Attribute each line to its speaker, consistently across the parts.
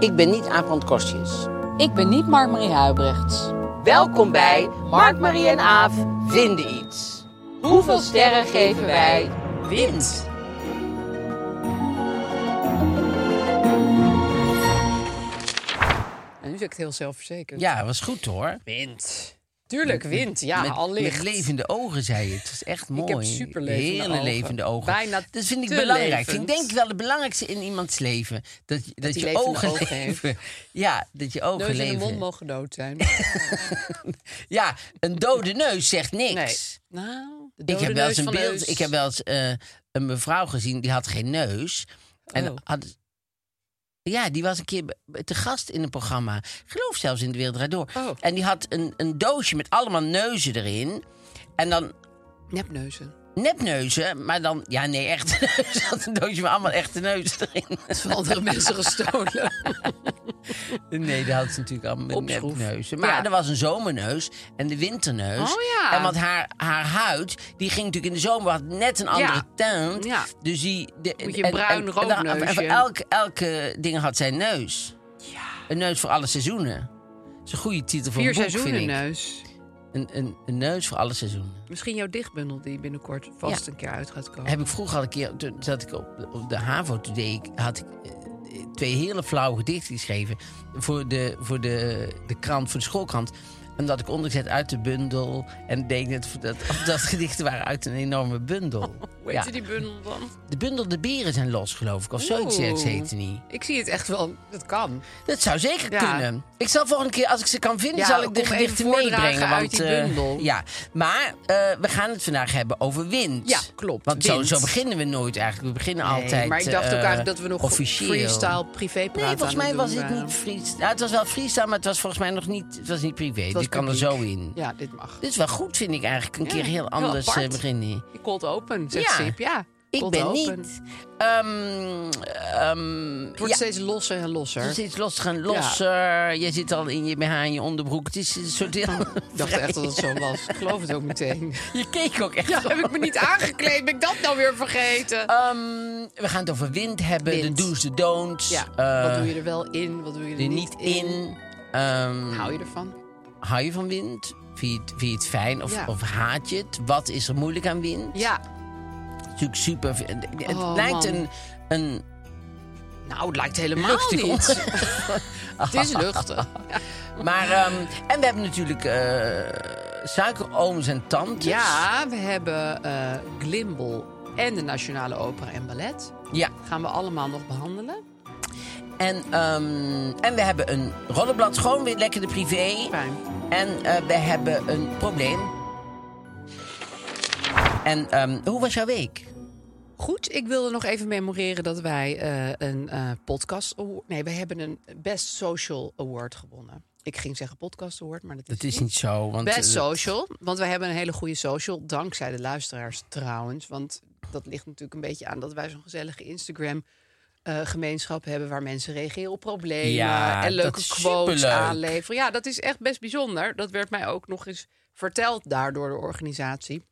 Speaker 1: Ik ben niet Aaf Kostjes.
Speaker 2: Ik ben niet Mark-Marie Huibrechts.
Speaker 1: Welkom bij Mark, Marie en Aaf vinden iets. Hoeveel sterren geven wij? Wins.
Speaker 2: En nu is ik het heel zelfverzekerd.
Speaker 3: Ja, was goed hoor.
Speaker 1: Wins.
Speaker 2: Tuurlijk, wind. Ja,
Speaker 3: met,
Speaker 2: allicht.
Speaker 3: met levende ogen, zei je. Het is echt mooi.
Speaker 2: heb superlevende
Speaker 3: Hele
Speaker 2: ogen.
Speaker 3: levende ogen.
Speaker 2: Bijna
Speaker 3: dat vind ik
Speaker 2: te
Speaker 3: belangrijk.
Speaker 2: levend.
Speaker 3: Ik denk wel het belangrijkste in iemands leven. Dat, dat,
Speaker 2: die
Speaker 3: je
Speaker 2: levende
Speaker 3: ogen,
Speaker 2: ogen heeft.
Speaker 3: leven. Ja, dat je ogen
Speaker 2: Neus in de
Speaker 3: leven.
Speaker 2: mond mogen dood zijn.
Speaker 3: Ja, een dode neus zegt niks.
Speaker 2: Nee. Nou, de
Speaker 3: Ik
Speaker 2: dode
Speaker 3: heb wel eens
Speaker 2: neus
Speaker 3: een
Speaker 2: van
Speaker 3: beeld.
Speaker 2: Eus.
Speaker 3: Ik heb wel eens eh, een mevrouw gezien die had geen neus. En
Speaker 2: Oh.
Speaker 3: had, ja, die was een keer be- te gast in een programma. Ik geloof zelfs in de Wereld Draait Door.
Speaker 2: Oh.
Speaker 3: En die had een, een doosje met allemaal neuzen erin. En dan
Speaker 2: Nepneuzen.
Speaker 3: nepneuzen, maar dan... Ja, nee, echte neuzen. Ze had een doosje met allemaal echte neuzen erin.
Speaker 2: Van andere mensen gestolen.
Speaker 3: Nee, dat had ze natuurlijk allemaal met
Speaker 2: Opschroef.
Speaker 3: nepneuzen. Maar
Speaker 2: Ja.
Speaker 3: er was een zomerneus en de winterneus.
Speaker 2: Oh ja.
Speaker 3: En want haar, haar huid, die ging natuurlijk in de zomer had net een andere
Speaker 2: Ja.
Speaker 3: teint.
Speaker 2: Ja.
Speaker 3: Dus die... de-
Speaker 2: Moet je een bruin
Speaker 3: en- en- en-
Speaker 2: roodneusje.
Speaker 3: en voor elke, elke ding had zijn neus. Een neus voor alle seizoenen. Dat is een goede titel voor
Speaker 2: Vier
Speaker 3: een boek,
Speaker 2: seizoenen
Speaker 3: vind ik.
Speaker 2: neus.
Speaker 3: Een, een, een neus voor alle seizoenen.
Speaker 2: Misschien jouw dichtbundel die binnenkort vast een keer uit gaat komen.
Speaker 3: Heb ik vroeger al een keer, toen zat ik op, op de HAVO, toen deed ik, had ik eh, twee hele flauwe gedichten geschreven voor de, voor de, de krant, voor de schoolkrant. En dat had ik ondergezet uit de bundel. En deed ik net of dat, of dat gedichten waren uit een enorme bundel.
Speaker 2: Oh, Hoe heet
Speaker 3: ja.
Speaker 2: je die bundel dan?
Speaker 3: De bundel De Beren zijn los, geloof ik. Of zoiets
Speaker 2: Oeh.
Speaker 3: heet heette niet.
Speaker 2: Ik zie het echt wel. Dat kan.
Speaker 3: Dat zou zeker
Speaker 2: Ja.
Speaker 3: kunnen. Ik zal volgende keer, als ik ze kan vinden,
Speaker 2: Ja,
Speaker 3: zal ik de
Speaker 2: kom even
Speaker 3: gedichten
Speaker 2: voordragen
Speaker 3: meebrengen.
Speaker 2: uit
Speaker 3: want,
Speaker 2: die
Speaker 3: eh,
Speaker 2: bundel.
Speaker 3: ja, maar eh, we gaan het vandaag hebben over wind.
Speaker 2: Ja, klopt,
Speaker 3: Want zo,
Speaker 2: wind.
Speaker 3: zo beginnen we nooit eigenlijk. We beginnen
Speaker 2: Nee,
Speaker 3: altijd.
Speaker 2: maar ik dacht ook
Speaker 3: eh,
Speaker 2: eigenlijk dat we nog
Speaker 3: officieel.
Speaker 2: freestyle privé praten
Speaker 3: Nee, volgens mij was
Speaker 2: het
Speaker 3: het niet freestyle. Nou, het was wel freestyle, maar het was volgens mij nog niet, het was niet privé.
Speaker 2: was
Speaker 3: Dit kan er
Speaker 2: publiek.
Speaker 3: zo in.
Speaker 2: Ja, dit mag.
Speaker 3: Dit is wel goed, vind ik eigenlijk. Een
Speaker 2: Ja,
Speaker 3: keer heel
Speaker 2: heel
Speaker 3: anders
Speaker 2: apart.
Speaker 3: eh, beginnen.
Speaker 2: Cold open, zegt
Speaker 3: Ja.
Speaker 2: Sip. Ja,
Speaker 3: Ik
Speaker 2: cold
Speaker 3: ben
Speaker 2: open.
Speaker 3: niet. ehm, ehm,
Speaker 2: Het wordt steeds losser en losser.
Speaker 3: Het is iets losser en losser. Je zit al in je BH en je onderbroek. Het is een soort heel...
Speaker 2: Ik dacht echt dat het zo was. Ik geloof het ook meteen.
Speaker 3: Je keek ook echt.
Speaker 2: Ja, heb ik me niet aangekleed? Ben ik dat nou weer vergeten?
Speaker 3: Ehm, we gaan het over wind hebben.
Speaker 2: Wind.
Speaker 3: De do's, de don'ts.
Speaker 2: ja,
Speaker 3: eh,
Speaker 2: wat doe je er wel in? Wat doe je er
Speaker 3: de niet in. Ehm,
Speaker 2: Hou je ervan?
Speaker 3: hou je van wind? Vind je het, vind je het fijn of,
Speaker 2: Ja.
Speaker 3: of haat je het? Wat is er moeilijk aan wind?
Speaker 2: Ja.
Speaker 3: Het is natuurlijk super... Het
Speaker 2: Oh,
Speaker 3: lijkt
Speaker 2: man.
Speaker 3: een, een
Speaker 2: Nou, het lijkt helemaal
Speaker 3: luchtig...
Speaker 2: niet.
Speaker 3: on-
Speaker 2: Het is luchtig.
Speaker 3: maar, ehm, en we hebben natuurlijk eh suikerooms en tantes.
Speaker 2: Ja, we hebben eh Glimbel en de Nationale Opera en Ballet.
Speaker 3: Ja.
Speaker 2: Gaan we allemaal nog behandelen.
Speaker 3: En, ehm, en we hebben een rollenblad, gewoon weer lekker de privé.
Speaker 2: Fijn.
Speaker 3: En eh, we hebben een probleem. En ehm, hoe was jouw week?
Speaker 2: Goed, ik wilde nog even memoreren dat wij eh, een eh, podcast award... Nee, we hebben een Best Social Award gewonnen. Ik ging zeggen podcast award, maar dat is,
Speaker 3: Dat is niet zo. Want
Speaker 2: Best
Speaker 3: eh,
Speaker 2: social, want we hebben een hele goede social. Dankzij de luisteraars trouwens. Want dat ligt natuurlijk een beetje aan dat wij zo'n gezellige Instagram... eh, gemeenschap hebben waar mensen reageren op problemen
Speaker 3: Ja,
Speaker 2: en
Speaker 3: dat
Speaker 2: leuke
Speaker 3: is
Speaker 2: quotes
Speaker 3: superleuk.
Speaker 2: aanleveren. Ja, dat is echt best bijzonder. Dat werd mij ook nog eens verteld daar door de organisatie.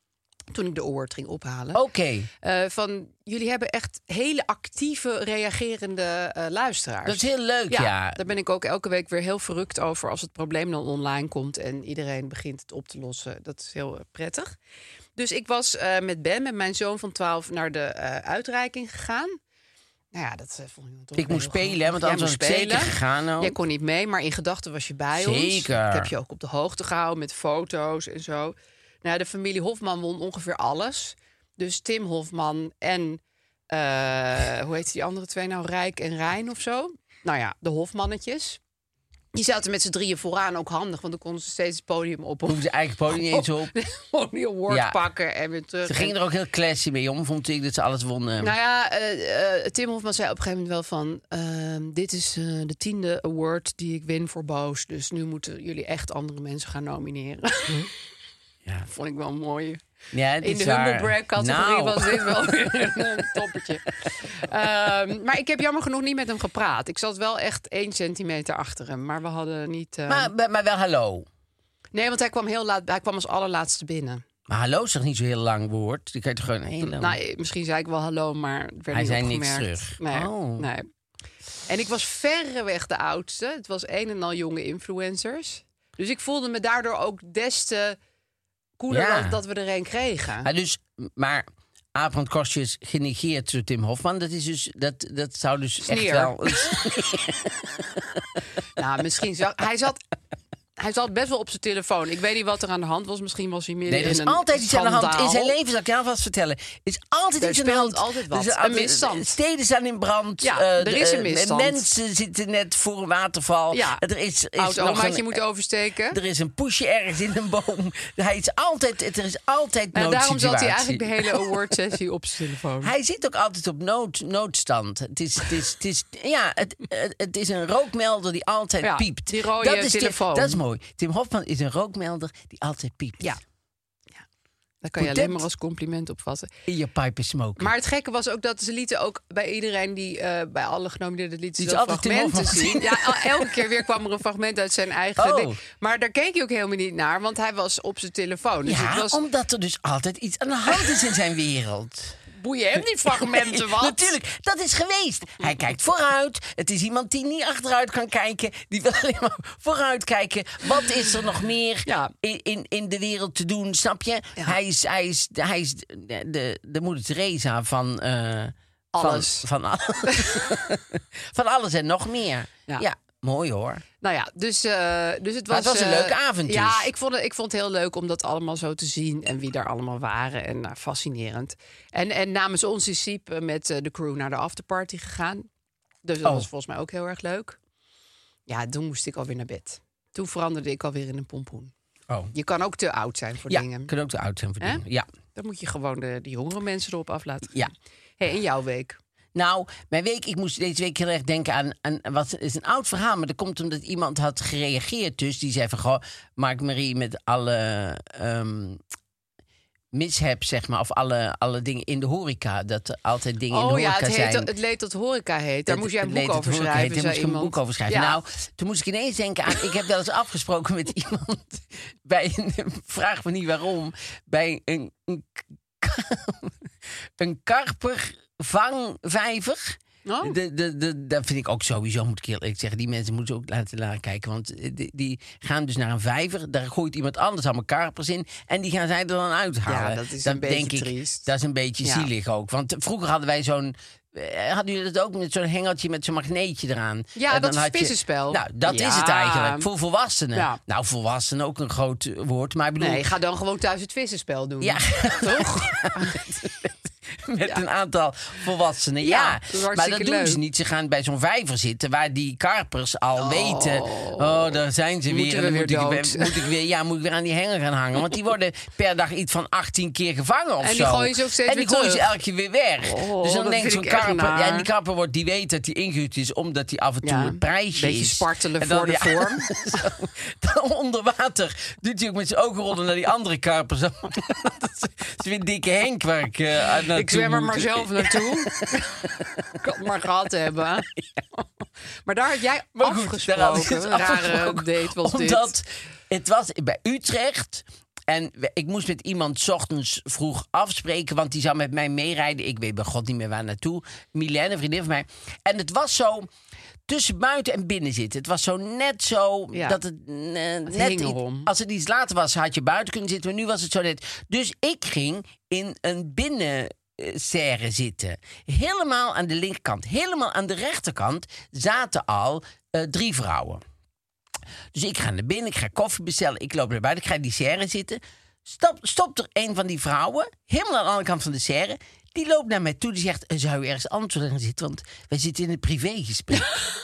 Speaker 2: Toen ik de award ging ophalen.
Speaker 3: Oké.
Speaker 2: Eh, van jullie hebben echt hele actieve, reagerende eh, luisteraars.
Speaker 3: Dat is heel leuk, ja.
Speaker 2: Daar ben ik ook elke week weer heel verrukt over als het probleem dan online komt en iedereen begint het op te lossen. Dat is heel eh, prettig. Dus ik was eh, met Ben, met mijn zoon van 12, naar de eh, uitreiking gegaan. Nou ja, dat eh, vond ik toch
Speaker 3: Ik
Speaker 2: wel
Speaker 3: moest
Speaker 2: heel
Speaker 3: spelen,
Speaker 2: grappig.
Speaker 3: want
Speaker 2: Jij
Speaker 3: anders was
Speaker 2: moest
Speaker 3: ik zeker gegaan ook.
Speaker 2: Jij kon niet mee, maar in gedachten was je bij ons.
Speaker 3: Zeker.
Speaker 2: Ik heb je ook op de hoogte gehouden met foto's en zo. Nou, de familie Hofman won ongeveer alles. Dus Tim Hofman en eh, hoe heet die andere twee nou? Rijk en Rijn of zo. Nou ja, de Hofmannetjes. Die zaten met z'n drieën vooraan ook handig, want dan konden ze steeds het podium op.
Speaker 3: Hoefde ze eigen podium niet
Speaker 2: Oh.
Speaker 3: eens op.
Speaker 2: Gewoon die award
Speaker 3: Ja.
Speaker 2: pakken en weer terug.
Speaker 3: Ze gingen er ook heel classy mee om, vond ik, dat ze alles wonnen.
Speaker 2: Nou ja, eh, eh, Tim Hofman zei op een gegeven moment wel van... ehm, dit is eh, de tiende award die ik win voor Boos. Dus nu moeten jullie echt andere mensen gaan nomineren.
Speaker 3: Hm. Ja.
Speaker 2: Vond ik wel mooi.
Speaker 3: ja, het
Speaker 2: In
Speaker 3: is
Speaker 2: de
Speaker 3: waar.
Speaker 2: humble brag categorie
Speaker 3: Nou.
Speaker 2: was dit wel weer een toppetje. Ehm, maar ik heb jammer genoeg niet met hem gepraat. Ik zat wel echt één centimeter achter hem. Maar we hadden niet... ehm,
Speaker 3: Maar, maar- maar wel hallo.
Speaker 2: Nee, want hij kwam heel laat. Hij kwam als allerlaatste binnen.
Speaker 3: Maar hallo is toch niet zo'n heel lang woord? Die kan je toch gewoon heen dan?
Speaker 2: Nou, eh, misschien zei ik wel hallo, maar het werd
Speaker 3: Hij
Speaker 2: niet
Speaker 3: zei niks
Speaker 2: opgemerkt.
Speaker 3: terug.
Speaker 2: Nee,
Speaker 3: Oh.
Speaker 2: nee. En ik was verreweg de oudste. Het was een en al jonge influencers. Dus ik voelde me daardoor ook des te cooler
Speaker 3: Ja.
Speaker 2: dat, dat we er een kregen.
Speaker 3: Maar dus, maar Abraham Kostje is genegeerd door Tim Hofman. Dat, is dus, dat, dat zou dus echt
Speaker 2: Sneer.
Speaker 3: wel...
Speaker 2: Nou, misschien zag hij zat. Hij zat best wel op zijn telefoon. Ik weet niet wat er aan de hand was. Misschien was hij meer
Speaker 3: Nee, er is
Speaker 2: in een
Speaker 3: altijd iets aan de hand. In
Speaker 2: schandaal.
Speaker 3: zijn leven, zal ik jou vast vertellen. Er is altijd
Speaker 2: Er
Speaker 3: iets aan de
Speaker 2: speelt
Speaker 3: hand. Dus,
Speaker 2: altijd wat.
Speaker 3: Er is
Speaker 2: Een misstand.
Speaker 3: eh, Steden staan in brand.
Speaker 2: Ja,
Speaker 3: eh,
Speaker 2: er
Speaker 3: de-
Speaker 2: is een
Speaker 3: eh,
Speaker 2: misstand.
Speaker 3: Mensen zitten net voor een waterval.
Speaker 2: Ja.
Speaker 3: Er is, er is
Speaker 2: Oud
Speaker 3: nog
Speaker 2: omaatje
Speaker 3: een-
Speaker 2: moet oversteken.
Speaker 3: Er is een poesje ergens in een boom. Hij is altijd, er is altijd
Speaker 2: Nou, daarom zat hij eigenlijk de
Speaker 3: noodsituatie.
Speaker 2: hele award-sessie op zijn telefoon.
Speaker 3: Hij zit ook altijd op nood, noodstand. Het is, het, is, het, is, ja, het, het- het is een rookmelder die altijd
Speaker 2: Ja,
Speaker 3: piept.
Speaker 2: die rode
Speaker 3: dat is Tim-
Speaker 2: telefoon.
Speaker 3: dat is mooi. Tim Hofman is een rookmelder die altijd piept.
Speaker 2: Ja. Daar kan je alleen
Speaker 3: Potent.
Speaker 2: maar als compliment op vatten.
Speaker 3: In je pipe is smoke.
Speaker 2: Maar het gekke was ook dat ze lieten ook bij iedereen die eh, bij alle genomineerden lieten ze
Speaker 3: Lieten
Speaker 2: dat
Speaker 3: altijd Tim
Speaker 2: fragmenten
Speaker 3: Hofman zien.
Speaker 2: zien. Ja, el- elke keer weer kwam er een fragment uit zijn eigen
Speaker 3: Oh.
Speaker 2: ding. Maar daar keek hij ook helemaal niet naar, want hij was op zijn telefoon. Dus
Speaker 3: ja,
Speaker 2: het was
Speaker 3: omdat er dus altijd iets aan de hand is in zijn wereld.
Speaker 2: boeien hem die fragmenten wat.
Speaker 3: Natuurlijk, dat is geweest. Hij kijkt vooruit. Het is iemand die niet achteruit kan kijken. Die wil alleen maar vooruit kijken. Wat is er nog meer
Speaker 2: Ja.
Speaker 3: in, in, in de wereld te doen, snap je? Hij is, hij is, hij is de, de, de moeder Teresa van... eh,
Speaker 2: Alles.
Speaker 3: Van, van, al- van alles en nog meer.
Speaker 2: Ja.
Speaker 3: Ja, mooi hoor.
Speaker 2: Nou ja, dus, eh, dus het
Speaker 3: Maar het
Speaker 2: was...
Speaker 3: was een
Speaker 2: eh,
Speaker 3: leuke avond dus.
Speaker 2: Ja, ik vond, het, ik vond het heel leuk om dat allemaal zo te zien. En wie daar allemaal waren. En nou, fascinerend. En, en namens ons is Siep eh, met eh, de crew naar de afterparty gegaan. Dus dat
Speaker 3: Oh.
Speaker 2: was volgens mij ook heel erg leuk. Ja, toen moest ik alweer naar bed. Toen veranderde ik alweer in een pompoen.
Speaker 3: Oh.
Speaker 2: Je kan ook te oud zijn voor
Speaker 3: Ja,
Speaker 2: dingen.
Speaker 3: kan ook de oud zijn voor
Speaker 2: Hè?
Speaker 3: dingen. Ja.
Speaker 2: Dan moet je gewoon de, de jongere mensen erop af laten gaan.
Speaker 3: Ja.
Speaker 2: Hey, in jouw week.
Speaker 3: Nou, mijn week, ik moest deze week heel erg denken aan, aan wat het is een oud verhaal, maar dat komt omdat iemand had gereageerd. Dus die zei van, goh, Mark Marie met alle ehm mishaps, zeg maar, of alle, alle dingen in de horeca, dat er altijd dingen in de
Speaker 2: oh ja,
Speaker 3: horeca
Speaker 2: het, heet,
Speaker 3: zijn.
Speaker 2: het leed dat horeca heet. Daar
Speaker 3: Het-
Speaker 2: moest jij een
Speaker 3: het
Speaker 2: boek
Speaker 3: leed het
Speaker 2: over
Speaker 3: horeca
Speaker 2: schrijven.
Speaker 3: heet, Daar
Speaker 2: zei
Speaker 3: moest ik een
Speaker 2: iemand.
Speaker 3: boek over schrijven.
Speaker 2: Ja.
Speaker 3: Nou, toen moest ik ineens denken aan... Ik heb wel eens afgesproken met iemand bij een... Vraag me niet waarom. Bij een, een, k- een karpervangvijver.
Speaker 2: Oh.
Speaker 3: De, de, de, dat vind ik ook sowieso, moet ik heel eerlijk zeggen. Die mensen moeten ze ook laten, laten kijken. Want eh, die, die gaan dus naar een vijver. Daar gooit iemand anders allemaal karpers in. En die gaan zij er dan uithalen.
Speaker 2: Ja, dat is
Speaker 3: Dan
Speaker 2: een beetje
Speaker 3: denk ik,
Speaker 2: triest.
Speaker 3: Dat is een beetje
Speaker 2: Ja.
Speaker 3: zielig ook. Want vroeger hadden wij zo'n... eh, Hadden jullie dat ook met zo'n hengeltje met zo'n magneetje eraan?
Speaker 2: Ja,
Speaker 3: En
Speaker 2: dat
Speaker 3: dan had je-
Speaker 2: vissenspel.
Speaker 3: Nou, dat is het
Speaker 2: Ja.
Speaker 3: eigenlijk. Voor volwassenen.
Speaker 2: Ja.
Speaker 3: Nou, volwassenen ook een groot eh, woord. Maar ik bedoel,
Speaker 2: Nee, ga dan gewoon thuis het vissenspel doen.
Speaker 3: Ja.
Speaker 2: Toch?
Speaker 3: met een aantal volwassenen.
Speaker 2: Ja,
Speaker 3: Ja,
Speaker 2: dat is
Speaker 3: maar dat
Speaker 2: hartstikke
Speaker 3: doen ze
Speaker 2: leuk.
Speaker 3: niet. Ze gaan bij zo'n vijver zitten waar die karpers al weten. Oh, daar zijn ze
Speaker 2: Moeten
Speaker 3: weer.
Speaker 2: we
Speaker 3: En moet,
Speaker 2: weer dood.
Speaker 3: Ik, weer- moet ik weer. Ja, moet ik weer aan die hengel gaan hangen. Want die worden per dag iets van 18 keer gevangen of
Speaker 2: En
Speaker 3: zo.
Speaker 2: die gooien ze ook steeds
Speaker 3: En die
Speaker 2: weer
Speaker 3: gooien ze
Speaker 2: terug.
Speaker 3: elke keer weer weg.
Speaker 2: Oh,
Speaker 3: dus
Speaker 2: dat
Speaker 3: dan denkt
Speaker 2: vind
Speaker 3: zo'n
Speaker 2: ik echt
Speaker 3: karper.
Speaker 2: naar.
Speaker 3: Ja, en die karper wordt, die weet dat die ingehuurd is omdat die af en toe
Speaker 2: Ja,
Speaker 3: een prijsje
Speaker 2: beetje
Speaker 3: is.
Speaker 2: spartelen
Speaker 3: En dan-
Speaker 2: voor de
Speaker 3: ja,
Speaker 2: vorm.
Speaker 3: zo. Dan onder water doet hij ook met zijn ogen rollen naar die andere karpers. dat is weer dikke Henk waar ik eh, naartoe
Speaker 2: Ik zwem er
Speaker 3: moet.
Speaker 2: maar zelf naartoe. Ik had het maar gehad hebben. Maar daar had jij
Speaker 3: Maar goed,
Speaker 2: afgesproken.
Speaker 3: daar hadden we het
Speaker 2: een rare
Speaker 3: afgesproken.
Speaker 2: date was dit.
Speaker 3: Omdat het was bij Utrecht. En we- ik moest met iemand 's ochtends vroeg afspreken, want die zou met mij meerijden. Ik weet bij god niet meer waar naartoe. Milène, een vriendin van mij. En het was zo tussen buiten en binnen zitten. Het was zo net zo
Speaker 2: Ja.
Speaker 3: dat het, eh, net
Speaker 2: hing
Speaker 3: iets-
Speaker 2: erom.
Speaker 3: als het iets later was, had je buiten kunnen zitten, maar nu was het zo net. Dus ik ging in een binnen eh, serre zitten. Helemaal aan de linkerkant. Helemaal aan de rechterkant zaten al eh, drie vrouwen. Dus ik ga naar binnen, ik ga koffie bestellen, ik loop naar buiten, ik ga in die serre zitten. Stop, stopt er een van die vrouwen, helemaal aan de andere kant van de serre. Die loopt naar mij toe, die zegt, "Eh, zou je ergens anders willen gaan zitten? Want wij zitten in een privégesprek.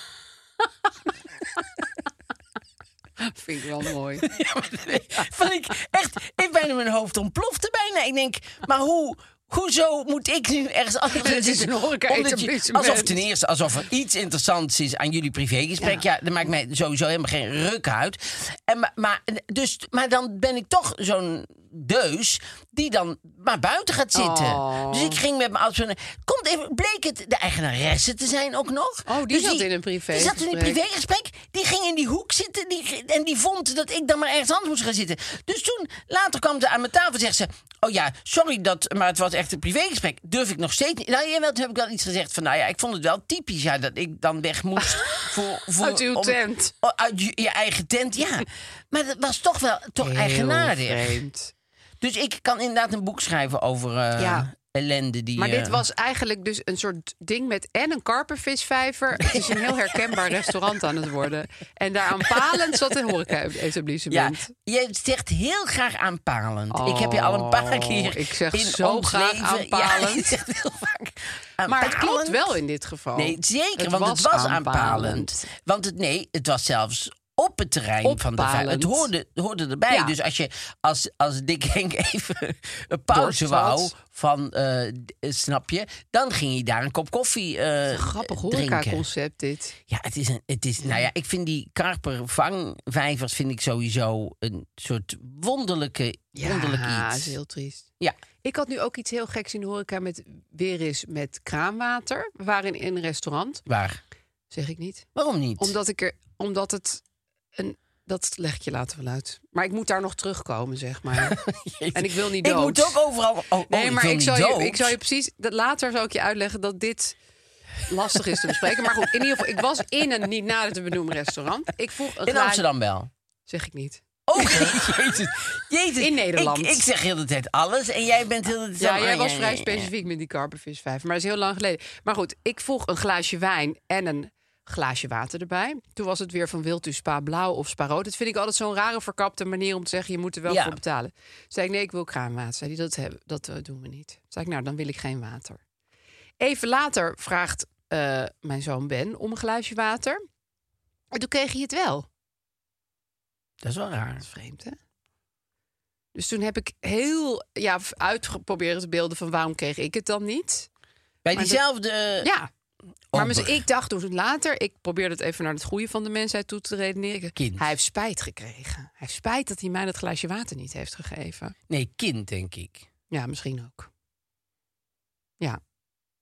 Speaker 2: Vind ik wel mooi.
Speaker 3: Ja, maar nee, van ik, echt, ik bijna mijn hoofd ontplofte bijna. Ik denk, maar hoe, hoezo moet ik nu ergens anders
Speaker 2: Het is een
Speaker 3: Omdat je-
Speaker 2: horeca-etablissement.
Speaker 3: Alsof ten eerste, alsof er iets interessants is aan jullie privégesprek. Ja, dat maakt mij sowieso helemaal geen ruk uit. En, maar, maar, dus, maar dan ben ik toch zo'n deus die dan maar buiten gaat zitten.
Speaker 2: Oh.
Speaker 3: Dus ik ging met mijn ouders... Komt even, bleek het de eigenaresse te zijn ook nog.
Speaker 2: Oh, die
Speaker 3: Dus
Speaker 2: zat in een privé-
Speaker 3: Die zat in een
Speaker 2: gesprek.
Speaker 3: privé gesprek. Die ging in die hoek zitten die, ge- en die vond dat ik dan maar ergens anders moest gaan zitten. Dus toen, later kwam ze aan mijn tafel en zegt ze... Oh ja, sorry, dat, maar het was echt een privégesprek. Durf ik nog steeds niet. Nou, jawel, toen heb ik wel iets gezegd van... Nou ja, ik vond het wel typisch ja, dat ik dan weg moest. Voor, voor,
Speaker 2: Uit uw
Speaker 3: om-
Speaker 2: tent.
Speaker 3: o- uit je, je eigen tent, ja. Maar dat was toch wel toch eigenaardig.
Speaker 2: vreemd.
Speaker 3: Dus ik kan inderdaad een boek schrijven over eh,
Speaker 2: Ja.
Speaker 3: ellende die...
Speaker 2: Maar
Speaker 3: eh,
Speaker 2: dit was eigenlijk dus een soort ding met en een karpervisvijver. Het is een heel herkenbaar restaurant aan het worden. En daar aan palen zat een
Speaker 3: Ja,
Speaker 2: horeca-etablissement.
Speaker 3: je zegt heel graag aanpalend. ik heb je
Speaker 2: Oh,
Speaker 3: al een paar keer.
Speaker 2: ik zeg
Speaker 3: in
Speaker 2: zo
Speaker 3: ons
Speaker 2: graag
Speaker 3: leven- Ja,
Speaker 2: aanpalend.
Speaker 3: je zegt heel vaak
Speaker 2: Maar het klopt
Speaker 3: aanpalend.
Speaker 2: wel in dit geval.
Speaker 3: Nee, zeker, want het was aanpalend. Want het, nee, het was zelfs op het terrein van de vijf. Het
Speaker 2: Oppalend.
Speaker 3: hoorde, hoorde erbij.
Speaker 2: Ja.
Speaker 3: Dus als je als, als Dick Henk even een pauze
Speaker 2: Dorst
Speaker 3: wou
Speaker 2: had.
Speaker 3: van, eh, d- eh, snap je, dan ging hij daar een kop koffie eh
Speaker 2: Grappig
Speaker 3: drinken.
Speaker 2: horeca-concept dit.
Speaker 3: Ja, het is een. Het is, nou ja, ik vind die karpervangvijvers vind ik sowieso een soort wonderlijke, wonderlijk
Speaker 2: Ja,
Speaker 3: iets.
Speaker 2: is heel triest.
Speaker 3: Ja.
Speaker 2: Ik had nu ook iets heel geks in de horeca met weer eens met kraanwater. We waren in een restaurant,
Speaker 3: Waar?
Speaker 2: zeg ik niet.
Speaker 3: Waarom niet?
Speaker 2: Omdat ik er, omdat het een, dat leg ik je later wel uit. Maar ik moet daar nog terugkomen, zeg maar.
Speaker 3: Jezus.
Speaker 2: en ik wil niet
Speaker 3: Ik
Speaker 2: dood.
Speaker 3: moet ook overal. Oh, oh,
Speaker 2: Nee, maar
Speaker 3: wil
Speaker 2: ik
Speaker 3: niet
Speaker 2: zal,
Speaker 3: dood.
Speaker 2: je, ik zal je precies. Dat later zal ik je uitleggen dat dit lastig is te bespreken. Maar goed, in ieder geval, ik was in een niet nader te benoemen restaurant. Ik vroeg een
Speaker 3: In
Speaker 2: glaasje-
Speaker 3: Amsterdam wel.
Speaker 2: Zeg ik niet.
Speaker 3: Oh, jezus. jezus.
Speaker 2: In Nederland.
Speaker 3: Ik, ik zeg heel de tijd alles en jij bent heel de tijd.
Speaker 2: Ja,
Speaker 3: zo-
Speaker 2: jij
Speaker 3: ah,
Speaker 2: was vrij
Speaker 3: ja, ja.
Speaker 2: specifiek met die karpervis 5, maar dat is heel lang geleden. Maar goed, ik vroeg een glaasje wijn en een glaasje water erbij. Toen was het weer van wilt u spa blauw of spa rood? Dat vind ik altijd zo'n rare verkapte manier om te zeggen je moet er wel
Speaker 3: Ja.
Speaker 2: voor betalen. Toen zei ik nee, ik wil kraanwater. Zei die dat hebben, dat eh, doen we niet. Toen zei ik nou, dan wil ik geen water. Even later vraagt eh, mijn zoon Ben om een glaasje water. En toen kreeg hij het wel.
Speaker 3: Dat is wel raar.
Speaker 2: Vreemd, hè? Dus toen heb ik heel ja, uitgeprobeerd te beelden van waarom kreeg ik het dan niet.
Speaker 3: Bij
Speaker 2: dat-
Speaker 3: diezelfde.
Speaker 2: Ja. Maar
Speaker 3: Amber.
Speaker 2: mis- ik dacht toen later, ik probeerde het even naar het goede van de mensheid toe te redeneren.
Speaker 3: Kind.
Speaker 2: Hij heeft spijt gekregen. Hij heeft spijt dat hij mij dat glaasje water niet heeft gegeven.
Speaker 3: Nee, kind, denk ik.
Speaker 2: Ja, misschien ook. Ja.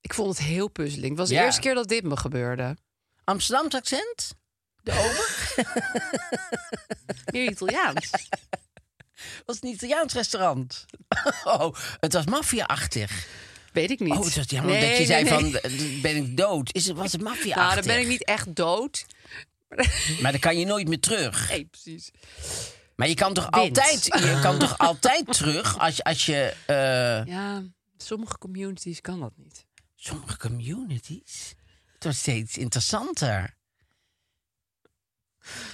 Speaker 2: Ik vond het heel puzzeling. Het was de
Speaker 3: Ja.
Speaker 2: eerste keer dat dit me gebeurde.
Speaker 3: Amsterdams accent? De ober?
Speaker 2: Meer Italiaans.
Speaker 3: was het een Italiaans restaurant? Oh, het was maffia-achtig.
Speaker 2: Weet ik niet.
Speaker 3: Oh, het was jammer
Speaker 2: Nee,
Speaker 3: dat je
Speaker 2: nee,
Speaker 3: zei
Speaker 2: nee.
Speaker 3: van, eh, ben ik dood? Is, het- was het maffia
Speaker 2: Nou, dan ben ik niet echt dood.
Speaker 3: Maar dan kan je nooit meer terug.
Speaker 2: Nee, precies.
Speaker 3: Maar je kan toch,
Speaker 2: Wind.
Speaker 3: altijd, je kan toch altijd terug als, als je... eh,
Speaker 2: Ja, sommige communities kan dat niet.
Speaker 3: sommige communities. Het wordt steeds interessanter.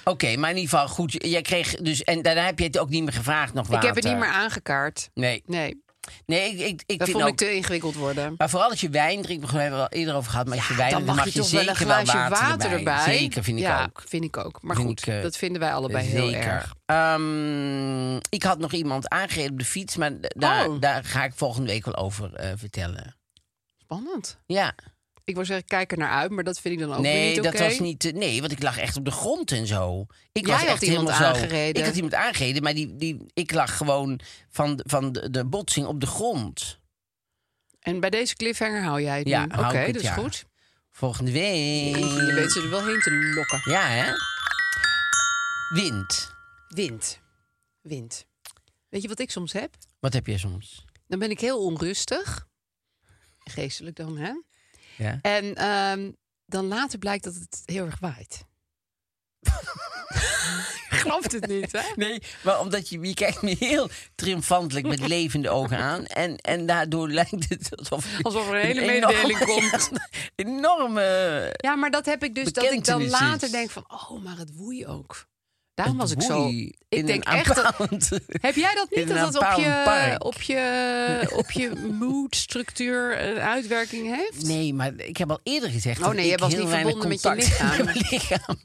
Speaker 3: Oké, maar in ieder geval goed. Jij kreeg dus, en daarna heb je het ook niet meer gevraagd nog water.
Speaker 2: Ik heb het niet meer aangekaart.
Speaker 3: Nee,
Speaker 2: Nee,
Speaker 3: nee ik, ik, ik
Speaker 2: dat
Speaker 3: vind
Speaker 2: vond ik
Speaker 3: ook...
Speaker 2: te ingewikkeld worden.
Speaker 3: Maar vooral als je wijn drinkt, we hebben het al eerder over gehad. Maar als je wijn
Speaker 2: dan
Speaker 3: drinkt, dan
Speaker 2: mag, je
Speaker 3: mag je,
Speaker 2: toch wel een
Speaker 3: zeker wel
Speaker 2: glaasje
Speaker 3: water, erbij. Zeker, vind ik
Speaker 2: ja,
Speaker 3: ook.
Speaker 2: vind ik ook. Maar
Speaker 3: Vind
Speaker 2: goed,
Speaker 3: ik, eh,
Speaker 2: dat vinden wij allebei heel erg.
Speaker 3: Ehm, ik had nog iemand aangereden op de fiets, maar d- daar,
Speaker 2: Oh.
Speaker 3: daar ga ik volgende week wel over eh, vertellen.
Speaker 2: Spannend.
Speaker 3: Ja,
Speaker 2: Ik wil zeggen, kijk er naar uit, maar dat Oh, vind ik dan ook weer
Speaker 3: nee,
Speaker 2: niet
Speaker 3: dat
Speaker 2: oké.
Speaker 3: was niet. eh, Nee, want ik lag echt op de grond en zo. Ik
Speaker 2: Jij
Speaker 3: was
Speaker 2: had
Speaker 3: echt
Speaker 2: iemand
Speaker 3: helemaal zo-
Speaker 2: aangereden.
Speaker 3: Ik had iemand aangereden, maar die, die, ik lag gewoon van, van de, de botsing op de grond.
Speaker 2: En bij deze cliffhanger hou jij het
Speaker 3: Ja,
Speaker 2: nu.
Speaker 3: hou
Speaker 2: Oké,
Speaker 3: ik het,
Speaker 2: dat is
Speaker 3: ja.
Speaker 2: goed.
Speaker 3: Volgende week.
Speaker 2: Je weet ze er wel heen te lokken.
Speaker 3: Ja, hè? Wind.
Speaker 2: Wind. Wind. Weet je wat ik soms heb?
Speaker 3: Wat heb jij soms?
Speaker 2: Dan ben ik heel onrustig. Geestelijk dan, hè?
Speaker 3: Ja.
Speaker 2: En ehm, dan later blijkt dat het heel erg waait. Je Gelooft het niet, hè?
Speaker 3: Nee, maar omdat je, je kijkt me heel triomfantelijk met levende ogen aan. En, en daardoor lijkt het alsof...
Speaker 2: Alsof er een hele
Speaker 3: enorme-
Speaker 2: mededeling komt.
Speaker 3: Ja, een enorme...
Speaker 2: Ja, maar dat heb ik dus dat ik dan
Speaker 3: Bekentenis
Speaker 2: later
Speaker 3: is.
Speaker 2: denk van... Oh, maar het woei ook. Daarom was ik zo...
Speaker 3: Woei, in
Speaker 2: Ik denk
Speaker 3: een
Speaker 2: echt... dat-
Speaker 3: aanpalend-
Speaker 2: Heb jij dat
Speaker 3: in
Speaker 2: niet?
Speaker 3: een
Speaker 2: Dat dat op
Speaker 3: aanpalend
Speaker 2: je,
Speaker 3: park.
Speaker 2: op je, op je moodstructuur een uitwerking heeft?
Speaker 3: Nee, maar ik heb al eerder gezegd
Speaker 2: Oh,
Speaker 3: dat
Speaker 2: nee,
Speaker 3: ik
Speaker 2: je was
Speaker 3: heel
Speaker 2: niet
Speaker 3: weinig
Speaker 2: verbonden met je
Speaker 3: contact heb
Speaker 2: lichaam.
Speaker 3: met mijn lichaam.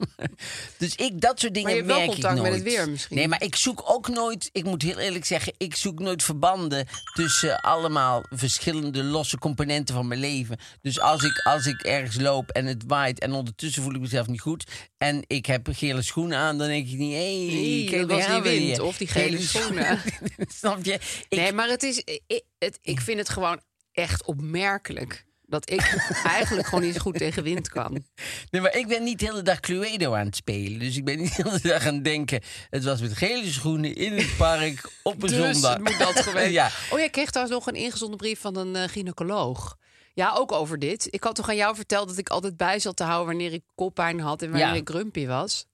Speaker 3: Dus ik, dat soort dingen
Speaker 2: Maar je hebt wel
Speaker 3: merk ik
Speaker 2: contact
Speaker 3: nooit.
Speaker 2: met het weer misschien.
Speaker 3: Nee, maar ik zoek ook nooit, ik moet heel eerlijk zeggen... ik zoek nooit verbanden tussen eh, allemaal verschillende losse componenten van mijn leven. Dus als ik, als ik ergens loop en het waait en ondertussen voel ik mezelf niet goed... en ik heb gele schoenen aan, dan denk ik niet... hé,
Speaker 2: Nee,
Speaker 3: hey,
Speaker 2: dat
Speaker 3: kijk,
Speaker 2: was
Speaker 3: daar gaan
Speaker 2: die
Speaker 3: we
Speaker 2: wind
Speaker 3: weer.
Speaker 2: of die gele schoenen.
Speaker 3: Snap je? Ik,
Speaker 2: nee, maar het is, ik, het, ik vind het gewoon echt opmerkelijk. Dat ik eigenlijk gewoon niet zo goed tegen wind kan.
Speaker 3: Nee, maar ik ben niet de hele dag Cluedo aan het spelen. Dus ik ben niet de hele dag aan het denken. Het was met gele schoenen in het park op een
Speaker 2: Dus
Speaker 3: zondag.
Speaker 2: moet dat geweest.
Speaker 3: ja.
Speaker 2: Oh, jij kreeg trouwens nog een ingezonden brief van een eh, gynaecoloog. Ja, ook over dit. Ik had toch aan jou verteld dat ik altijd bij zat te houden wanneer ik koppijn had en wanneer
Speaker 3: Ja.
Speaker 2: ik grumpy was.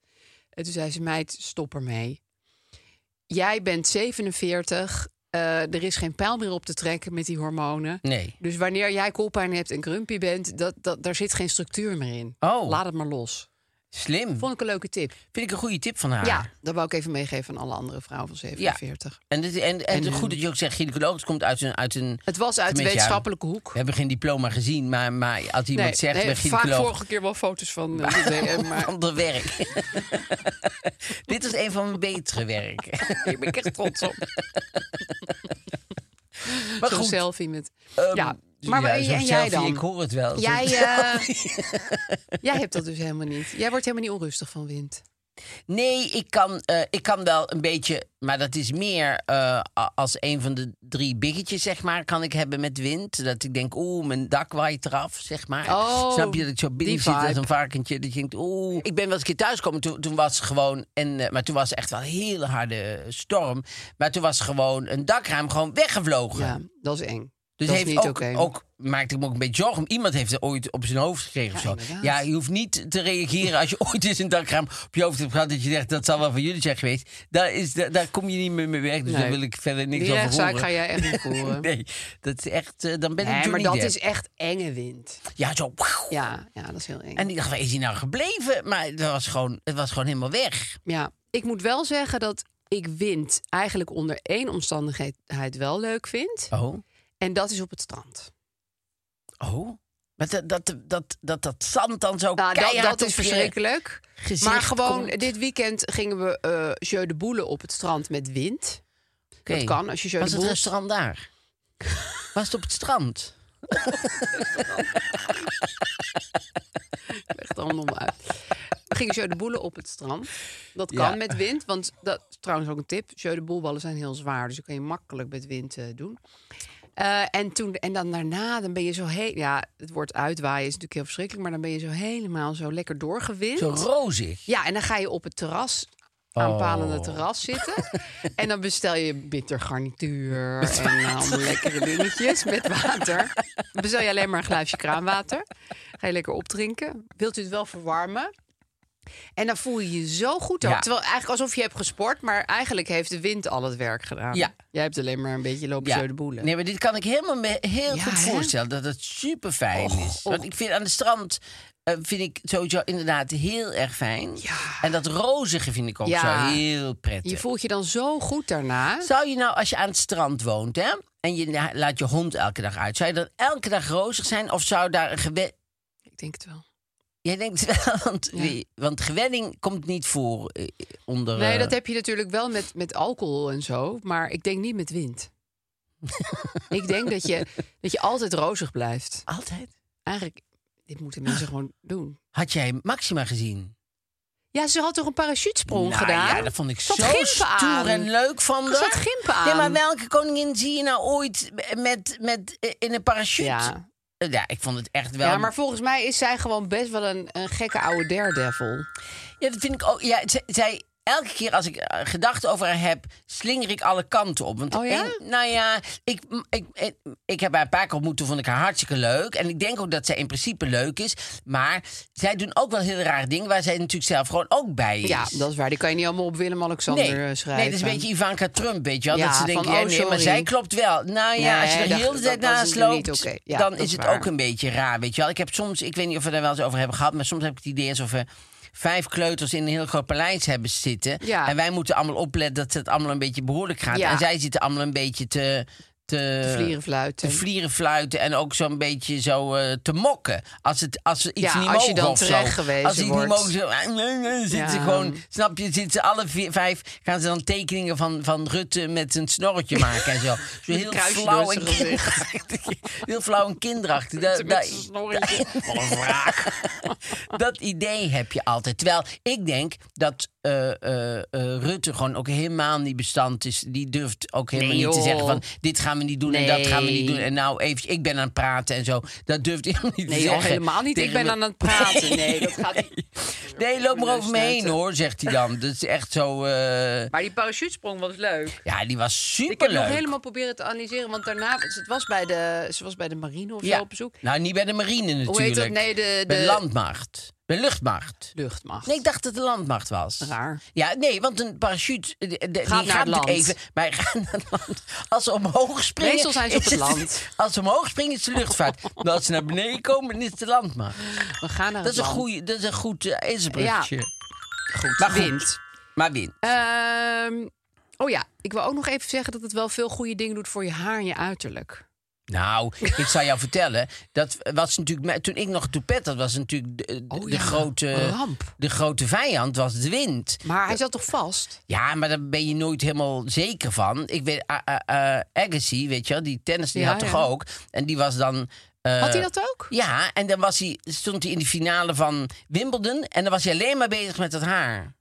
Speaker 2: En toen zei ze, meid, stop ermee. Jij bent 47, eh, er is geen pijl meer op te trekken met die hormonen.
Speaker 3: Nee.
Speaker 2: Dus wanneer jij koppijn hebt en grumpy bent, dat, dat, daar zit geen structuur meer in.
Speaker 3: Oh.
Speaker 2: Laat het maar los.
Speaker 3: Slim.
Speaker 2: Vond ik een leuke tip.
Speaker 3: Vind ik een goede tip van haar.
Speaker 2: Ja, dat wou ik even meegeven aan alle andere vrouwen van 47.
Speaker 3: En, dit, en, en,
Speaker 2: En
Speaker 3: het- goed
Speaker 2: hun-
Speaker 3: dat je ook zegt, gynaecoloog het komt uit een... Uit een
Speaker 2: Het was uit de
Speaker 3: Tenminste, ja,
Speaker 2: wetenschappelijke hoek.
Speaker 3: we hebben geen diploma gezien, maar, maar als iemand zegt... bij
Speaker 2: vaak
Speaker 3: gynaecoloog,
Speaker 2: vorige keer wel foto's van eh, de DM, maar
Speaker 3: Ander werk. Dit was een van mijn betere werk.
Speaker 2: ik ben ik echt trots op.
Speaker 3: Maar
Speaker 2: Zo'n
Speaker 3: goed,
Speaker 2: selfie met...
Speaker 3: ehm,
Speaker 2: ja, maar
Speaker 3: ja,
Speaker 2: en
Speaker 3: zo'n
Speaker 2: jij
Speaker 3: selfie,
Speaker 2: dan?
Speaker 3: Ik hoor het wel.
Speaker 2: Jij,
Speaker 3: Zo'n
Speaker 2: eh, jij hebt dat dus helemaal niet. Jij wordt helemaal niet onrustig van wind.
Speaker 3: Nee, ik kan, eh, ik kan wel een beetje, maar dat is meer eh, a- als een van de drie biggetjes, zeg maar, kan ik hebben met wind. Dat ik denk, oeh, mijn dak waait eraf, zeg maar.
Speaker 2: Oh,
Speaker 3: Snap je dat ik zo binnen
Speaker 2: die
Speaker 3: zit als
Speaker 2: vibe.
Speaker 3: een varkentje? Dat je denkt, oeh. Ik ben wel eens een keer thuisgekomen, toen, toen was gewoon, en, eh, maar toen was echt wel een hele harde eh, storm. Maar toen was gewoon een dakruim gewoon weggevlogen.
Speaker 2: Ja, dat is eng.
Speaker 3: Dus
Speaker 2: dat
Speaker 3: heeft
Speaker 2: is niet
Speaker 3: ook,
Speaker 2: oké.
Speaker 3: ook maakte ik me ook een beetje zorgen. om. Iemand heeft er ooit op zijn hoofd gekregen of zo.
Speaker 2: inderdaad.
Speaker 3: Ja, je hoeft niet te reageren als je ooit eens een dakraam op je hoofd hebt gehad. Dat je zegt, dat zal wel van jullie zijn geweest. Daar, is, daar, daar kom je niet meer mee weg. Dus
Speaker 2: Nee.
Speaker 3: daar wil ik verder niks
Speaker 2: Die
Speaker 3: over
Speaker 2: rechtszaak
Speaker 3: horen.
Speaker 2: ga jij echt niet voeren.
Speaker 3: nee, dat is echt, eh, dan ben ik
Speaker 2: Nee, maar
Speaker 3: Johnny
Speaker 2: dat
Speaker 3: Depp.
Speaker 2: is echt enge wind.
Speaker 3: Ja, zo. wauw.
Speaker 2: Ja, ja dat is heel eng.
Speaker 3: En ik dacht, waar is hij nou gebleven? Maar dat was gewoon, het was gewoon helemaal weg.
Speaker 2: Ja, ik moet wel zeggen dat ik wind eigenlijk onder één omstandigheid wel leuk vind.
Speaker 3: Oh,
Speaker 2: En dat is op het strand.
Speaker 3: oh. Maar dat dat, dat, dat, dat zand dan zo
Speaker 2: Nou, dat,
Speaker 3: keihard
Speaker 2: dat
Speaker 3: op
Speaker 2: is
Speaker 3: je
Speaker 2: verschrikkelijk.
Speaker 3: gezicht
Speaker 2: Maar gewoon,
Speaker 3: komt.
Speaker 2: dit weekend gingen we eh Jeu de Boule op het strand met wind.
Speaker 3: Oké.
Speaker 2: Dat kan, als je Jeu
Speaker 3: Was
Speaker 2: de
Speaker 3: het
Speaker 2: Boule...
Speaker 3: restaurant daar? Was het op het strand?
Speaker 2: Leg het allemaal maar uit. We gingen Jeu de Boule op het strand. Dat kan
Speaker 3: Ja.
Speaker 2: met wind, want dat is trouwens ook een tip. Jeu de Boelballen zijn heel zwaar, dus dat kun je makkelijk met wind eh, doen. Eh, en, toen, en dan daarna, dan ben je zo heel... Ja, het woord uitwaaien is natuurlijk heel verschrikkelijk... maar dan ben je zo helemaal zo lekker doorgewind.
Speaker 3: Zo rozig.
Speaker 2: Ja, en dan ga je op het terras,
Speaker 3: Oh.
Speaker 2: aanpalende terras zitten. en dan bestel je bitter garnituur en eh, allemaal lekkere dingetjes met water. Dan bestel je alleen maar een glaasje kraanwater. Ga je lekker opdrinken. Wilt u het wel verwarmen? En dan voel je je zo goed. ook.
Speaker 3: Ja.
Speaker 2: Terwijl eigenlijk alsof je hebt gesport, maar eigenlijk heeft de wind al het werk gedaan.
Speaker 3: Ja.
Speaker 2: Jij hebt alleen maar een beetje lopen zo de boelen.
Speaker 3: Nee, maar dit kan ik helemaal me- heel
Speaker 2: Ja,
Speaker 3: goed
Speaker 2: hè? Oh,
Speaker 3: voorstellen. Dat het super fijn
Speaker 2: Och,
Speaker 3: is. Want
Speaker 2: och.
Speaker 3: ik vind aan het strand eh, vind ik sowieso inderdaad heel erg fijn.
Speaker 2: Ja.
Speaker 3: En dat rozige vind ik ook
Speaker 2: Ja.
Speaker 3: zo heel prettig.
Speaker 2: Je voelt je dan zo goed daarna.
Speaker 3: Zou je nou, als je aan het strand woont, hè, en je la- laat je hond elke dag uit, zou je dan elke dag rozig zijn? Of zou daar een gewen.
Speaker 2: Ik denk het wel.
Speaker 3: Jij denkt wel, want,
Speaker 2: Ja.
Speaker 3: want gewenning komt niet voor eh, onder.
Speaker 2: Nee,
Speaker 3: eh,
Speaker 2: dat heb je natuurlijk wel met, met alcohol en zo. Maar ik denk niet met wind. ik denk dat je, dat je altijd rozig blijft.
Speaker 3: altijd.
Speaker 2: Eigenlijk, dit moeten mensen gewoon doen.
Speaker 3: Had jij Maxima gezien?
Speaker 2: Ja, ze had toch een parachutesprong
Speaker 3: Nou
Speaker 2: gedaan?
Speaker 3: Ja, dat vond ik
Speaker 2: Zat
Speaker 3: zo
Speaker 2: gimpen
Speaker 3: stoer
Speaker 2: aan.
Speaker 3: en leuk van haar.
Speaker 2: Er zat gimpen
Speaker 3: Nee, maar
Speaker 2: aan.
Speaker 3: welke koningin zie je nou ooit met, met, eh, in een parachute?
Speaker 2: Ja.
Speaker 3: Eh, ja, ik vond het echt wel...
Speaker 2: Ja, maar volgens mij is zij gewoon best wel een, een gekke oude daredevil.
Speaker 3: Ja, dat vind ik ook... Ja, z- zij elke keer als ik eh, gedachten over haar heb, slinger ik alle kanten op. Want
Speaker 2: Oh ja?
Speaker 3: één- nou ja, ik, m- ik, ik, ik heb haar een paar keer ontmoet, toen vond ik haar hartstikke leuk. En ik denk ook dat zij in principe leuk is. Maar zij doen ook wel heel rare dingen waar zij natuurlijk zelf gewoon ook bij is.
Speaker 2: Ja, dat is waar. Die kan je niet allemaal op Willem-Alexander eh, schrijven.
Speaker 3: Nee, dat is een beetje Ivanka Trump, weet je wel.
Speaker 2: Ja,
Speaker 3: dat ze denken,
Speaker 2: van,
Speaker 3: ja,
Speaker 2: oh,
Speaker 3: nee, maar
Speaker 2: sorry.
Speaker 3: zij klopt wel. Nou ja,
Speaker 2: Nee,
Speaker 3: als je er
Speaker 2: dat-
Speaker 3: heel de
Speaker 2: dat
Speaker 3: tijd
Speaker 2: was
Speaker 3: naast loopt,
Speaker 2: natuurlijk niet oké. Ja,
Speaker 3: dan
Speaker 2: dat
Speaker 3: is
Speaker 2: is
Speaker 3: het
Speaker 2: waar.
Speaker 3: ook een beetje raar, weet je wel. Ik heb soms, ik weet niet of we daar wel eens over hebben gehad... maar soms heb ik het idee alsof we vijf kleuters in een heel groot paleis hebben zitten.
Speaker 2: Ja.
Speaker 3: En wij moeten allemaal opletten dat het allemaal een beetje behoorlijk gaat.
Speaker 2: Ja.
Speaker 3: En zij zitten allemaal een beetje te... Te,
Speaker 2: Te vlieren fluiten.
Speaker 3: te vlieren fluiten en ook zo'n beetje zo eh, te mokken. Als, het, als ze iets
Speaker 2: Ja,
Speaker 3: niet
Speaker 2: als je
Speaker 3: mogen
Speaker 2: dan
Speaker 3: of zo.
Speaker 2: terecht gewezen
Speaker 3: Als ze iets
Speaker 2: wordt.
Speaker 3: niet mogen, zo, eh, zitten ze
Speaker 2: Ja.
Speaker 3: gewoon Snap je, zitten ze alle vier, vijf, gaan ze dan tekeningen van, van Rutte met een snorretje maken en zo. Zo heel
Speaker 2: kruisje
Speaker 3: flauw
Speaker 2: door
Speaker 3: en
Speaker 2: zijn gezicht.
Speaker 3: kinderachtig. Heel flauw en kinderachtig. Da-
Speaker 2: Met
Speaker 3: da-
Speaker 2: zijn snorretje. Wat een wraak.
Speaker 3: dat idee heb je altijd. Terwijl ik denk dat eh, eh, eh, Rutte gewoon ook helemaal niet bestand is. Die durft ook helemaal
Speaker 2: Nee,
Speaker 3: niet te
Speaker 2: joh.
Speaker 3: zeggen van dit gaan we niet doen en dat gaan we niet doen.
Speaker 2: Nee.
Speaker 3: En nou even, ik ben aan het praten en zo. Dat durft hij helemaal niet
Speaker 2: Nee,
Speaker 3: te
Speaker 2: joh,
Speaker 3: zeggen.
Speaker 2: helemaal niet. Ik
Speaker 3: tegen
Speaker 2: ben
Speaker 3: me.
Speaker 2: aan het praten. Nee, dat gaat niet.
Speaker 3: Nee, loop maar over me heen
Speaker 2: Snuiten.
Speaker 3: hoor, zegt hij dan. Dat is echt zo... eh,
Speaker 2: Maar die parachutesprong was leuk.
Speaker 3: Ja, die was
Speaker 2: Ik heb
Speaker 3: superleuk.
Speaker 2: nog helemaal proberen te analyseren, want daarna... Ze was bij de, ze was bij de marine of zo op bezoek.
Speaker 3: Nou, niet bij de marine natuurlijk.
Speaker 2: Hoe heet dat? Nee, de...
Speaker 3: Bij
Speaker 2: de
Speaker 3: de landmacht. Bij luchtmacht.
Speaker 2: Luchtmacht.
Speaker 3: Nee, ik dacht dat het de landmacht was.
Speaker 2: Raar.
Speaker 3: Ja, nee, want een parachute eh, de- de- die gaat
Speaker 2: naar het
Speaker 3: natuurlijk
Speaker 2: land.
Speaker 3: even. Maar hij gaat naar het land. Als ze omhoog springen.
Speaker 2: Meestal zijn ze op
Speaker 3: is
Speaker 2: het land.
Speaker 3: Als ze omhoog springen, is de luchtvaart. Maar als ze naar beneden komen, dan is het de landmacht.
Speaker 2: We gaan naar
Speaker 3: Dat is een,
Speaker 2: het land.
Speaker 3: goeie, dat is een goed uh, ezelsbruggetje.
Speaker 2: Goed,
Speaker 3: Maar goed.
Speaker 2: wind.
Speaker 3: Maar win.
Speaker 2: Ehm, oh ja, ik wil ook nog even zeggen dat het wel veel goede dingen doet voor je haar en je uiterlijk.
Speaker 3: Nou, ik zal jou vertellen. Dat was natuurlijk. me- Toen ik nog toepet had, was natuurlijk de, de-
Speaker 2: Oh
Speaker 3: de
Speaker 2: ja,
Speaker 3: grote.
Speaker 2: een ramp.
Speaker 3: De grote vijand was de wind.
Speaker 2: Maar hij zat toch vast?
Speaker 3: Ja, maar daar ben je nooit helemaal zeker van. Ik weet, eh, eh, eh, Agassi, weet je wel, die tennis, die
Speaker 2: Ja,
Speaker 3: had toch
Speaker 2: ja.
Speaker 3: ook. En die was dan... eh,
Speaker 2: Had hij dat ook?
Speaker 3: Ja, en dan was hij, stond hij in de finale van Wimbledon... en dan was hij alleen maar bezig met dat haar.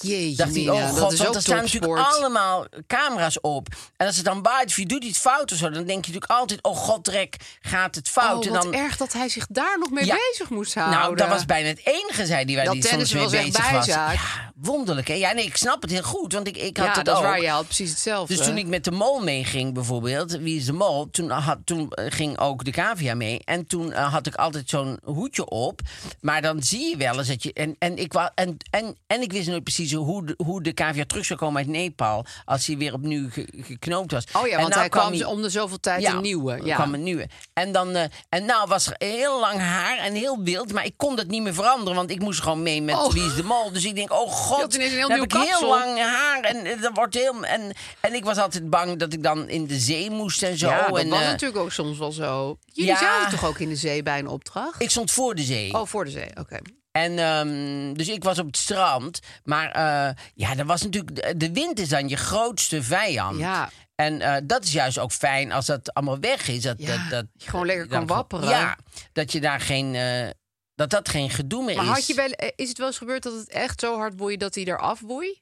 Speaker 2: Jeetje,
Speaker 3: Dacht hij,
Speaker 2: Mina,
Speaker 3: oh god,
Speaker 2: dat is
Speaker 3: want
Speaker 2: ook
Speaker 3: er staan natuurlijk
Speaker 2: topsport.
Speaker 3: allemaal camera's op. En als het dan waait, of je doet iets fout of zo... dan denk je natuurlijk altijd, oh god, Rek, gaat het fout?
Speaker 2: Oh,
Speaker 3: en
Speaker 2: wat
Speaker 3: dan,
Speaker 2: erg dat hij zich daar nog mee
Speaker 3: Ja.
Speaker 2: bezig moest houden.
Speaker 3: nou, dat was bijna het enige, zei die waar
Speaker 2: Dat
Speaker 3: die soms
Speaker 2: tennis
Speaker 3: mee
Speaker 2: was echt
Speaker 3: bezig was.
Speaker 2: bijzaak.
Speaker 3: Ja, wonderlijk, hè? Ja, nee, ik snap het heel goed, want ik, ik had
Speaker 2: Ja,
Speaker 3: het
Speaker 2: dat is
Speaker 3: ook.
Speaker 2: waar. Je had precies hetzelfde.
Speaker 3: Dus toen ik met de mol meeging bijvoorbeeld, wie is de mol? Toen, had, toen eh, ging ook de cavia mee. En toen eh, had ik altijd zo'n hoedje op. Maar dan zie je wel eens dat je... En, en, ik, wa- en, en, en ik wist nooit precies hoe de, hoe de cavia terug zou komen uit Nepal... als hij weer opnieuw ge- geknoopt was.
Speaker 2: Oh ja,
Speaker 3: En
Speaker 2: want
Speaker 3: nou
Speaker 2: hij kwam om de zoveel tijd een nieuwe. Ja.
Speaker 3: kwam een nieuwe. En, dan, eh, en nou was er heel lang haar en heel wild. Maar ik kon dat niet meer veranderen, want ik moest gewoon mee met
Speaker 2: Oh.
Speaker 3: Wie is de Mol. Dus ik denk, oh god,
Speaker 2: had ineens een heel
Speaker 3: dan
Speaker 2: nieuw
Speaker 3: heb ik heel
Speaker 2: kapsel.
Speaker 3: lang haar. En, eh, dat wordt heel, en, en ik was altijd bang dat ik dan in de zee moest en zo.
Speaker 2: ja, dat
Speaker 3: en,
Speaker 2: was
Speaker 3: eh,
Speaker 2: natuurlijk ook soms wel zo. Jullie
Speaker 3: ja.
Speaker 2: zouden toch ook in de zee bij een opdracht?
Speaker 3: Ik stond voor de zee.
Speaker 2: Oh, voor de zee, oké.
Speaker 3: En, ehm, dus ik was op het strand. Maar eh, ja, dat was natuurlijk, de- de wind is dan je grootste vijand.
Speaker 2: Ja.
Speaker 3: En eh, dat is juist ook fijn als dat allemaal weg is. Dat,
Speaker 2: Ja,
Speaker 3: dat, dat,
Speaker 2: je gewoon lekker
Speaker 3: dat-
Speaker 2: kan wapperen.
Speaker 3: Ja, dat je daar geen... eh, dat dat geen gedoe meer
Speaker 2: Maar
Speaker 3: is.
Speaker 2: had je wel, eh, is het wel eens gebeurd dat het echt zo hard boeide dat hij eraf boei?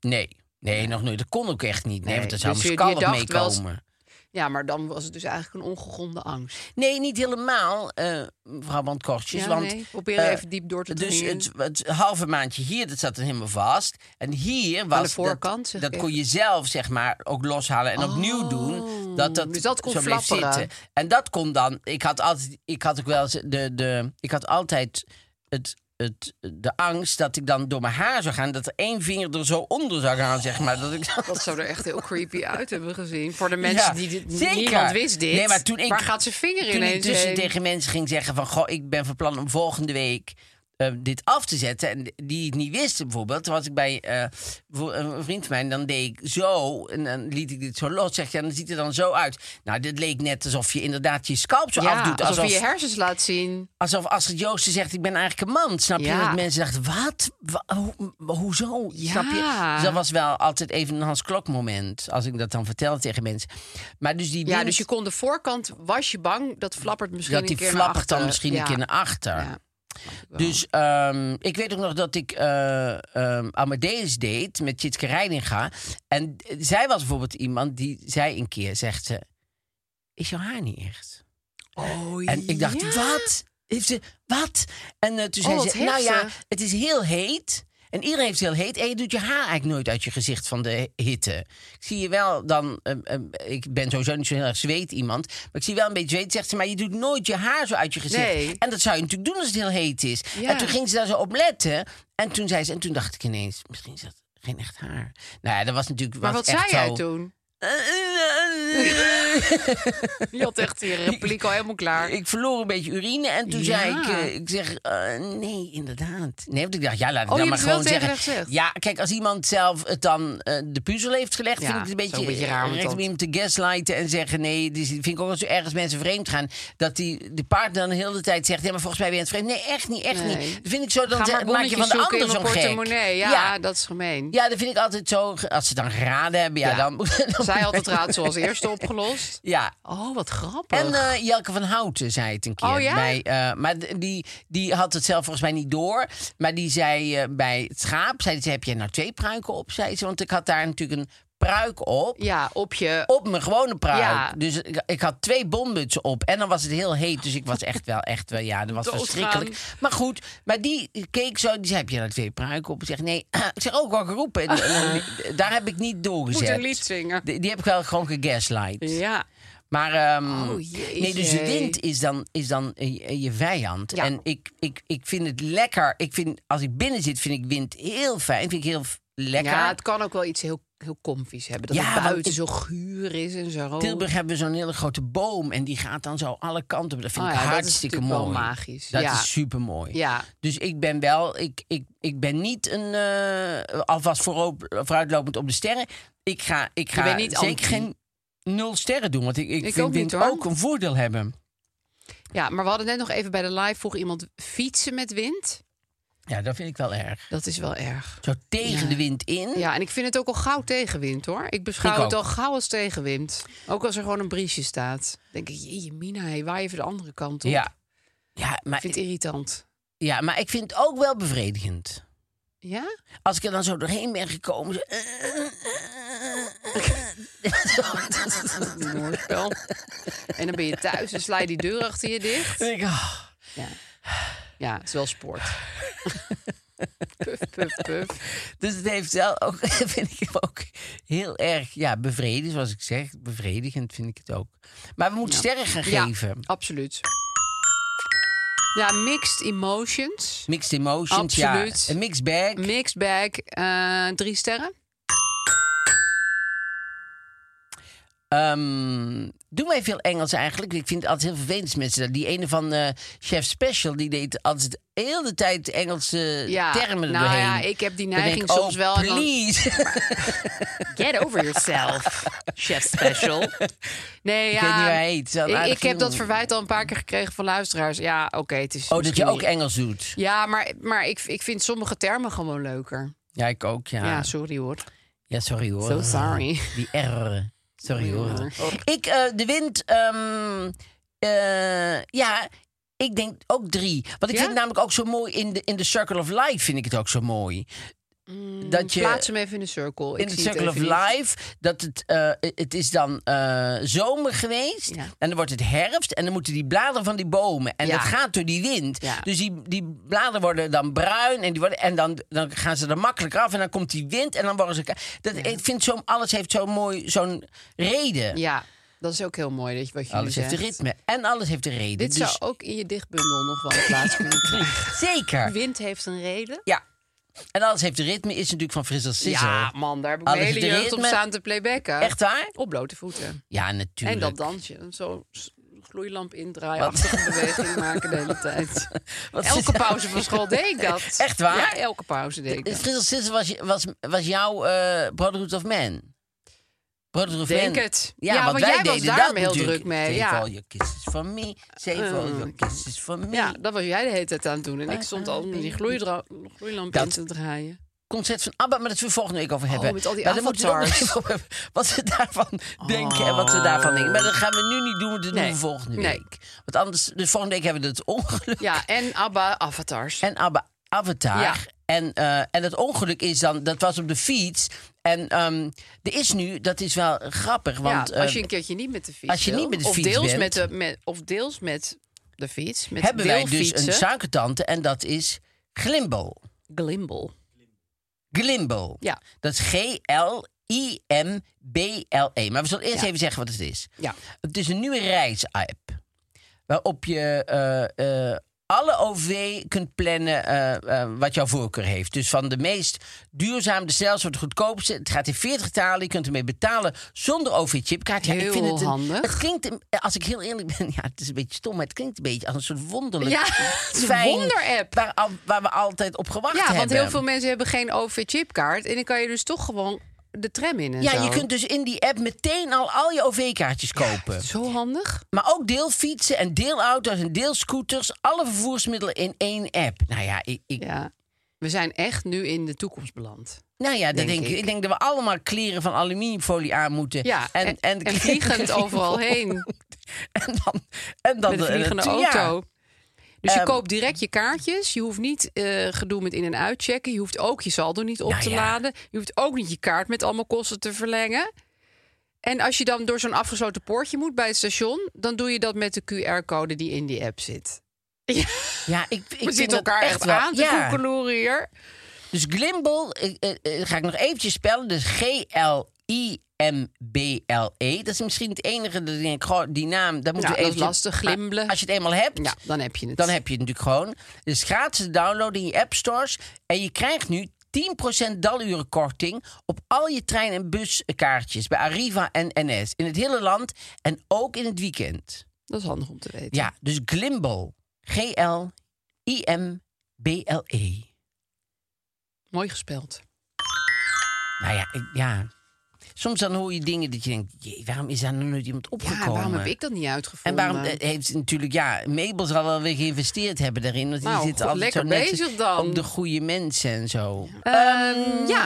Speaker 3: Nee. Nee, nog nooit. Dat kon ook echt niet. Nee,
Speaker 2: Nee,
Speaker 3: want er zou
Speaker 2: dus
Speaker 3: mijn
Speaker 2: je- je
Speaker 3: scalp mee
Speaker 2: dacht wel eens-
Speaker 3: komen.
Speaker 2: Ja, maar dan was het dus eigenlijk een ongegronde angst. Dus
Speaker 3: Nee, niet helemaal, eh mevrouw Bandkortjes.
Speaker 2: Ja,
Speaker 3: want,
Speaker 2: nee, probeer
Speaker 3: eh,
Speaker 2: even diep door te
Speaker 3: Dus
Speaker 2: dringen.
Speaker 3: het, het halve maandje hier, dat zat dan helemaal vast. En hier was...
Speaker 2: de voorkant, zeg
Speaker 3: Dat, dat
Speaker 2: ik. Oh,
Speaker 3: kon je zelf, zeg maar, ook loshalen en opnieuw doen. Dat dat,
Speaker 2: dus dat kon
Speaker 3: zo bleef
Speaker 2: flapperen.
Speaker 3: zitten. En dat kon dan... Ik had altijd, ik had ook wel eens de, de, ik had altijd het, het, de angst dat ik dan door mijn haar zou gaan. Dat er één vinger er zo onder zou gaan, zeg maar. Dat ik
Speaker 2: Dat zou er echt heel creepy uit hebben gezien. Voor de mensen
Speaker 3: Ja,
Speaker 2: die dit
Speaker 3: zeker.
Speaker 2: niemand wist dit.
Speaker 3: Nee, maar toen ik,
Speaker 2: Waar gaat zijn vinger
Speaker 3: toen ik
Speaker 2: ineens
Speaker 3: dus
Speaker 2: heen?
Speaker 3: tegen mensen ging zeggen van... Goh, ik ben van plan om volgende week eh, dit af te zetten. En die het niet wisten bijvoorbeeld. Toen was ik bij eh, voor een vriend van mij en dan deed ik zo. En dan liet ik dit zo los. Zeg, ja, dan ziet het er dan zo uit. Nou, dit leek net alsof je inderdaad je scalp zo
Speaker 2: ja,
Speaker 3: afdoet.
Speaker 2: alsof,
Speaker 3: Alsof,
Speaker 2: je je hersens laat zien.
Speaker 3: alsof Astrid Joosten zegt, ik ben eigenlijk een man. Snap je?
Speaker 2: Ja.
Speaker 3: Dat mensen dachten, wat? Wa- ho- hoezo?
Speaker 2: Ja.
Speaker 3: Snap je? Dus dat was wel altijd even een Hans Klok moment. Als ik dat dan vertelde tegen mensen. Maar dus die
Speaker 2: Ja,
Speaker 3: wind-
Speaker 2: dus je kon de voorkant, was je bang, dat flappert misschien
Speaker 3: dat die
Speaker 2: een keer naar
Speaker 3: flappert dan
Speaker 2: achteren.
Speaker 3: misschien
Speaker 2: Ja.
Speaker 3: een keer naar achter.
Speaker 2: Ja.
Speaker 3: Dus ehm, ik weet ook nog dat ik eh, ehm, Amadeus deed met Tjitske Reidinga. En eh, zij was bijvoorbeeld iemand die zei een keer, zegt ze... Is jouw haar niet echt?
Speaker 2: Oh,
Speaker 3: En ik dacht,
Speaker 2: ja.
Speaker 3: wat? Heeft ze, wat? En eh, toen
Speaker 2: Oh,
Speaker 3: zei
Speaker 2: wat
Speaker 3: ze, nou ja,
Speaker 2: heftig.
Speaker 3: het is heel heet. En iedereen heeft het heel heet. En je doet je haar eigenlijk nooit uit je gezicht van de hitte. Ik zie je wel dan... ehm, ehm, ik ben sowieso niet zo heel erg zweet iemand. Maar ik zie wel een beetje zweet. Zegt ze, maar je doet nooit je haar zo uit je gezicht.
Speaker 2: Nee.
Speaker 3: En dat zou je natuurlijk doen als het heel heet is.
Speaker 2: Ja.
Speaker 3: En toen ging ze daar zo op letten. En toen, zei ze, en toen dacht ik ineens, misschien is dat geen echt haar. Nou ja, dat was natuurlijk...
Speaker 2: Maar
Speaker 3: was
Speaker 2: wat zei
Speaker 3: echt
Speaker 2: jij
Speaker 3: zo-
Speaker 2: toen? Je had echt die repliek al helemaal klaar.
Speaker 3: Ik verloor een beetje urine en toen
Speaker 2: Ja.
Speaker 3: zei ik, eh, ik zeg, eh, nee, inderdaad. Nee, want ik dacht, ja, laat ik
Speaker 2: Oh,
Speaker 3: dan
Speaker 2: je
Speaker 3: maar
Speaker 2: hebt het wel
Speaker 3: gewoon
Speaker 2: tegen
Speaker 3: zeggen.
Speaker 2: haar gezegd?
Speaker 3: Ja, kijk, als iemand zelf het dan eh, de puzzel heeft gelegd,
Speaker 2: Ja,
Speaker 3: vind ik het een
Speaker 2: is ook
Speaker 3: beetje,
Speaker 2: een beetje raar om het
Speaker 3: recht om
Speaker 2: dan-
Speaker 3: iemand te gaslighten en zeggen, nee, dus vind ik ook als ergens mensen vreemd gaan, dat die de partner dan de hele tijd zegt, ja, maar volgens mij ben je aan het vreemd. Nee, echt niet, echt
Speaker 2: Nee.
Speaker 3: niet. Dat vind ik zo, dan
Speaker 2: Ga
Speaker 3: zeg-
Speaker 2: maar
Speaker 3: maak je
Speaker 2: bonnetjes
Speaker 3: van de
Speaker 2: zoeken
Speaker 3: ander
Speaker 2: in
Speaker 3: zo'n
Speaker 2: een portemonnee.
Speaker 3: gek.
Speaker 2: Ja,
Speaker 3: ja,
Speaker 2: dat is gemeen.
Speaker 3: ja, dat vind ik altijd zo, ge- als ze dan geraden hebben, ja,
Speaker 2: Ja.
Speaker 3: dan... dan-
Speaker 2: Zij had het raadsel als eerste opgelost.
Speaker 3: ja,
Speaker 2: Oh, wat grappig.
Speaker 3: en eh, Jelke van Houten zei het een keer.
Speaker 2: Oh, ja?
Speaker 3: bij, eh, maar d- die, die had het zelf volgens mij niet door. Maar die zei eh, bij het schaap, zei ze, heb jij nou twee pruiken op? Zei ze, want ik had daar natuurlijk een pruik op.
Speaker 2: ja, op je...
Speaker 3: Op mijn gewone pruik.
Speaker 2: Ja.
Speaker 3: Dus ik, ik had twee bombuts op. En dan was het heel heet. Dus ik was echt wel, echt wel, ja, dat was
Speaker 2: Doodgaan.
Speaker 3: verschrikkelijk. Maar goed, maar die keek zo. Die zei, heb je nou twee pruiken op? Ik zeg, nee. ik zeg, ook al geroepen. En, en, en, daar heb ik niet doorgezet.
Speaker 2: Moet een lied zingen.
Speaker 3: Die, die heb ik wel gewoon gegaslight.
Speaker 2: Ja.
Speaker 3: Maar ehm,
Speaker 2: Oh, jeetje.
Speaker 3: nee, dus de wind is dan, is dan eh, je, je vijand.
Speaker 2: Ja.
Speaker 3: En ik, ik, ik vind het lekker. Ik vind, als ik binnen zit, vind ik wind heel fijn. Vind ik heel f- lekker.
Speaker 2: ja, het kan ook wel iets heel, heel comfies hebben. Dat
Speaker 3: Ja,
Speaker 2: het
Speaker 3: want
Speaker 2: buiten
Speaker 3: ik-
Speaker 2: zo guur is en zo.
Speaker 3: Tilburg hebben we zo'n hele grote boom. En die gaat dan zo alle kanten op. Dat vind
Speaker 2: Oh
Speaker 3: ik
Speaker 2: ja, dat is
Speaker 3: hartstikke
Speaker 2: natuurlijk wel
Speaker 3: mooi.
Speaker 2: magisch.
Speaker 3: Dat
Speaker 2: Ja.
Speaker 3: is super mooi.
Speaker 2: Ja.
Speaker 3: Dus ik ben wel, ik, ik, ik ben niet een, eh, alvast voorop, vooruitlopend op de sterren. Ik ga, ik ga
Speaker 2: bent niet
Speaker 3: zeker
Speaker 2: anti.
Speaker 3: geen nul sterren doen. Want ik, ik,
Speaker 2: Ik
Speaker 3: vind
Speaker 2: ook niet,
Speaker 3: wind
Speaker 2: hoor.
Speaker 3: ook een voordeel hebben.
Speaker 2: ja, maar we hadden net nog even bij de live... vroeg iemand fietsen met wind.
Speaker 3: Ja, dat vind ik wel erg.
Speaker 2: Dat is wel erg.
Speaker 3: Zo tegen
Speaker 2: Ja.
Speaker 3: de wind in.
Speaker 2: Ja, en ik vind het ook al gauw tegenwind, hoor. Ik beschouw
Speaker 3: Hm. Ik
Speaker 2: het
Speaker 3: ook.
Speaker 2: al gauw als tegenwind. Ook als er gewoon een briesje staat. denk ik, jeetje mina, hey, waai even de andere kant op.
Speaker 3: Ja. Ja
Speaker 2: Ik
Speaker 3: maar,
Speaker 2: vind het irritant.
Speaker 3: ja, maar ik vind het ook wel bevredigend.
Speaker 2: Ja?
Speaker 3: Als ik er dan zo doorheen ben gekomen. zo- eh,
Speaker 2: Mooi spel. En dan ben je thuis en sla je die deur achter je dicht.
Speaker 3: denk ik, ah.
Speaker 2: Ja, ja het is wel sport. puf, puf, puf.
Speaker 3: Dus het heeft wel ook, vind ik ook heel erg ja, bevredigend, zoals ik zeg. Bevredigend vind ik het ook. Maar we moeten sterren gaan
Speaker 2: Ja,
Speaker 3: geven.
Speaker 2: absoluut. Ja, mixed emotions.
Speaker 3: Mixed emotions,
Speaker 2: Absoluut.
Speaker 3: ja. Een mixed bag.
Speaker 2: Mixed bag, eh, drie sterren.
Speaker 3: Ehm, doen wij veel Engels eigenlijk? Ik vind het altijd heel vervelend als mensen. dat- Die ene van eh, Chef Special, die deed altijd heel de tijd Engelse
Speaker 2: Ja,
Speaker 3: termen
Speaker 2: nou
Speaker 3: erdoorheen.
Speaker 2: ja, ik heb die
Speaker 3: Dan denk
Speaker 2: neiging
Speaker 3: ik,
Speaker 2: soms
Speaker 3: oh,
Speaker 2: wel en dan-
Speaker 3: please.
Speaker 2: Get over yourself, chef special. Nee, ja,
Speaker 3: weet niet hoe hij heet. Het is wel een
Speaker 2: ik,
Speaker 3: aardig
Speaker 2: ik heb dat
Speaker 3: jongen.
Speaker 2: verwijt al een paar keer gekregen van luisteraars. Ja, oké, het is
Speaker 3: Oh, dat je
Speaker 2: misschien
Speaker 3: ook
Speaker 2: niet-
Speaker 3: Engels doet.
Speaker 2: Ja, maar, maar ik, ik vind sommige termen gewoon leuker.
Speaker 3: Ja, ik ook, ja.
Speaker 2: Ja,
Speaker 3: Ja,
Speaker 2: sorry hoor.
Speaker 3: sorry hoor.
Speaker 2: So sorry.
Speaker 3: Die R. Sorry hoor.
Speaker 2: Hoor.
Speaker 3: Ik, eh, de wind, ehm, eh, ja, ik denk ook drie. Want ik
Speaker 2: Ja?
Speaker 3: vind het namelijk ook zo mooi in de, in de Circle of Life, vind ik het ook zo mooi.
Speaker 2: Mm,
Speaker 3: dat je
Speaker 2: Plaats hem even in de cirkel.
Speaker 3: in
Speaker 2: Ik
Speaker 3: de
Speaker 2: zie het
Speaker 3: Circle of
Speaker 2: even niet.
Speaker 3: Life, dat het, eh, het is dan eh, zomer geweest.
Speaker 2: Ja.
Speaker 3: En dan wordt het herfst. En dan moeten die bladeren van die bomen. En
Speaker 2: Ja.
Speaker 3: dat gaat door die wind.
Speaker 2: Ja.
Speaker 3: Dus die, die bladeren worden dan bruin. En, die worden, en dan, dan gaan ze er makkelijk af. En dan komt die wind. En dan worden ze. ka- Dat, Ik vind zo, alles heeft zo'n mooi, zo'n reden.
Speaker 2: Ja, dat is ook heel mooi dat je wat je
Speaker 3: Alles heeft een ritme. En alles heeft een reden.
Speaker 2: Dit
Speaker 3: dus
Speaker 2: zou ook in je dichtbundel nog wel plaats kunnen krijgen.
Speaker 3: zeker.
Speaker 2: Wind heeft een reden.
Speaker 3: Ja. En alles heeft een ritme. Is natuurlijk van Frissel Sissel.
Speaker 2: Ja, man, daar heb ik
Speaker 3: Alles
Speaker 2: mijn hele
Speaker 3: heeft een
Speaker 2: jeugd op
Speaker 3: ritme.
Speaker 2: staan te playbacken.
Speaker 3: Echt waar?
Speaker 2: Op blote voeten.
Speaker 3: Ja, natuurlijk.
Speaker 2: En dat dansje. Zo'n s- gloeilamp indraaien, achtige beweging maken de hele tijd.
Speaker 3: Wat-
Speaker 2: Elke pauze van school deed ik dat.
Speaker 3: Echt waar?
Speaker 2: Ja, elke pauze deed ik dat.
Speaker 3: Frissel Sissel was, je- was, was jouw eh Brotherhood of Man. Brotherhood of
Speaker 2: Denk
Speaker 3: Man.
Speaker 2: het. Ja, want jij was daar heel druk mee,
Speaker 3: Save
Speaker 2: ja. Mm.
Speaker 3: all your kisses for me. Save all your kisses for me.
Speaker 2: Ja, dat was jij de hele tijd aan het doen. En ik stond al met die gloeidra- gloeilamp
Speaker 3: Eh, Dat-
Speaker 2: in te draaien.
Speaker 3: Concert van ABBA, maar dat we volgende week over hebben.
Speaker 2: Oh, met al die
Speaker 3: maar dan moeten we
Speaker 2: avatars.
Speaker 3: nog even op hebben wat we daarvan denken en wat we daarvan denken. Maar dat gaan we nu niet doen, want dat
Speaker 2: Nee.
Speaker 3: doen we volgende
Speaker 2: Nee.
Speaker 3: week. Want anders, dus volgende week hebben we het ongeluk.
Speaker 2: Ja, en ABBA avatars.
Speaker 3: En Abba Avatar.
Speaker 2: Ja.
Speaker 3: En, eh, en het ongeluk is dan, dat was op de fiets. En ehm, er is nu, dat is wel grappig, want...
Speaker 2: ja, als
Speaker 3: eh,
Speaker 2: je een keertje niet met de fiets
Speaker 3: als je
Speaker 2: wil,
Speaker 3: niet met de
Speaker 2: of
Speaker 3: fiets
Speaker 2: deels
Speaker 3: bent.
Speaker 2: met de, met, Of deels met de fiets. Met
Speaker 3: hebben wij dus
Speaker 2: deelfietsen.
Speaker 3: een suikertante en dat is glimbal.
Speaker 2: Glimbal.
Speaker 3: Glimble.
Speaker 2: Ja.
Speaker 3: Dat is G-L-I-M-B-L-E. E. Maar we zullen eerst
Speaker 2: Ja.
Speaker 3: even zeggen wat het is.
Speaker 2: Ja.
Speaker 3: Het is een nieuwe reisapp. Waarop je eh, eh, alle OV kunt plannen eh, eh, wat jouw voorkeur heeft. Dus van de meest duurzame, de snelste, het goedkoopste. Het gaat in 40 talen. Je kunt ermee betalen zonder OV-chipkaart. Ja, ik
Speaker 2: Heel
Speaker 3: vind het een-
Speaker 2: handig.
Speaker 3: Het klinkt, een- eh, als ik heel eerlijk ben, ja, het is een beetje stom. Maar het klinkt een beetje als een soort wonderlijk
Speaker 2: Ja, het is een
Speaker 3: fijn-
Speaker 2: wonderapp.
Speaker 3: Waar, al- waar we altijd op gewacht
Speaker 2: Ja,
Speaker 3: hebben.
Speaker 2: want heel veel mensen hebben geen OV-chipkaart. En dan kan je dus toch gewoon de tram in en
Speaker 3: Ja,
Speaker 2: zo.
Speaker 3: je kunt dus in die app meteen al al je OV-kaartjes kopen.
Speaker 2: Zo handig.
Speaker 3: Maar ook deelfietsen en deelauto's en deelscooters. Alle vervoersmiddelen in één app. Nou ja, ik, ik,
Speaker 2: Ja. We zijn echt nu in de toekomst beland.
Speaker 3: nou ja dat denk,
Speaker 2: Denk
Speaker 3: ik.
Speaker 2: ik.
Speaker 3: ik denk dat we allemaal kleren van aluminiumfolie aan moeten.
Speaker 2: Ja, en, en, vliegend overal heen.
Speaker 3: En dan, en dan
Speaker 2: Met een
Speaker 3: de-
Speaker 2: vliegende
Speaker 3: ja.
Speaker 2: auto. Dus je
Speaker 3: Ehm,
Speaker 2: koopt direct je kaartjes. Je hoeft niet eh, gedoe met in- en uitchecken. Je hoeft ook je saldo niet op
Speaker 3: Nou
Speaker 2: te
Speaker 3: ja.
Speaker 2: laden. Je hoeft ook niet je kaart met allemaal kosten te verlengen. En als je dan door zo'n afgesloten poortje moet bij het station... dan doe je dat met de QR-code die in die app zit.
Speaker 3: Ja, ik, ik
Speaker 2: We
Speaker 3: vind
Speaker 2: zitten
Speaker 3: dat
Speaker 2: elkaar echt
Speaker 3: wel-
Speaker 2: aan te
Speaker 3: ja.
Speaker 2: koekeloeren hier.
Speaker 3: Dus Glimble, eh, eh, eh, ga ik nog eventjes spellen. Dus G-L-I-M-B-L-E. E. Dat is misschien het enige dat ik denk, goh, die naam, dat moet
Speaker 2: Ja,
Speaker 3: we
Speaker 2: dat is
Speaker 3: eventjes-
Speaker 2: lastig,
Speaker 3: maar
Speaker 2: glimbelen.
Speaker 3: Als je het eenmaal hebt,
Speaker 2: Ja, dan heb je het.
Speaker 3: dan heb je het natuurlijk gewoon. Dus gratis te downloaden in je app stores. En je krijgt nu 10% dalurenkorting op al je trein- en buskaartjes bij Arriva en NS. In het hele land en ook in het weekend.
Speaker 2: Dat is handig om te weten.
Speaker 3: Ja, dus Glimble. G-L-I-M-B-L-E.
Speaker 2: Mooi gespeld.
Speaker 3: Nou ja, ik- ja. Soms dan hoor je dingen dat je denkt... Jee, waarom is daar nog nooit iemand opgekomen?
Speaker 2: Ja, waarom heb ik dat niet
Speaker 3: En
Speaker 2: uitgevonden?
Speaker 3: waarom eh, heeft ze natuurlijk... Ja, Mabel zal wel weer geïnvesteerd hebben daarin. Want
Speaker 2: Nou,
Speaker 3: die zit
Speaker 2: goed,
Speaker 3: altijd zo
Speaker 2: lekker
Speaker 3: net
Speaker 2: bezig dan.
Speaker 3: op de goede mensen en zo.
Speaker 2: Ehm, ja,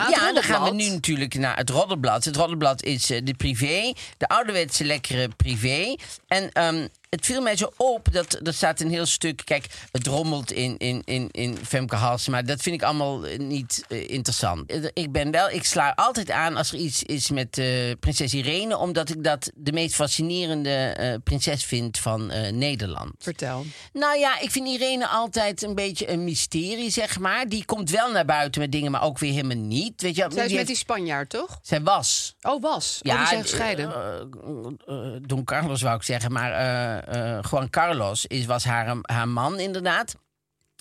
Speaker 2: het
Speaker 3: eh, Mm, dan gaan we
Speaker 2: roddelblad.
Speaker 3: nu natuurlijk naar het Roddelblad. Het Roddelblad is eh, de privé, de ouderwetse lekkere privé. En ehm, het viel mij zo op, dat er staat een heel stuk... Kijk, het rommelt in, in, in, in Femke Halsema, maar dat vind ik allemaal eh, niet eh, interessant. Eh, Ik ben wel, ik sla altijd aan als er iets is met eh, prinses Irene... omdat ik dat de meest fascinerende eh, prinses vind van eh, Nederland.
Speaker 2: Vertel.
Speaker 3: Nou ja, ik vind Irene altijd een beetje een mysterie, zeg maar. Die komt wel naar buiten met dingen, maar ook weer helemaal niet. Weet je, wel?
Speaker 2: Zij is met die
Speaker 3: heeft-
Speaker 2: Spanjaard, toch?
Speaker 3: Zij was.
Speaker 2: Oh, was. Ja,
Speaker 3: Ja,
Speaker 2: die zijn
Speaker 3: eh,
Speaker 2: gescheiden.
Speaker 3: eh, Don Carlos wou ik zeggen, maar eh, eh, Juan Carlos is, was haar, haar man inderdaad.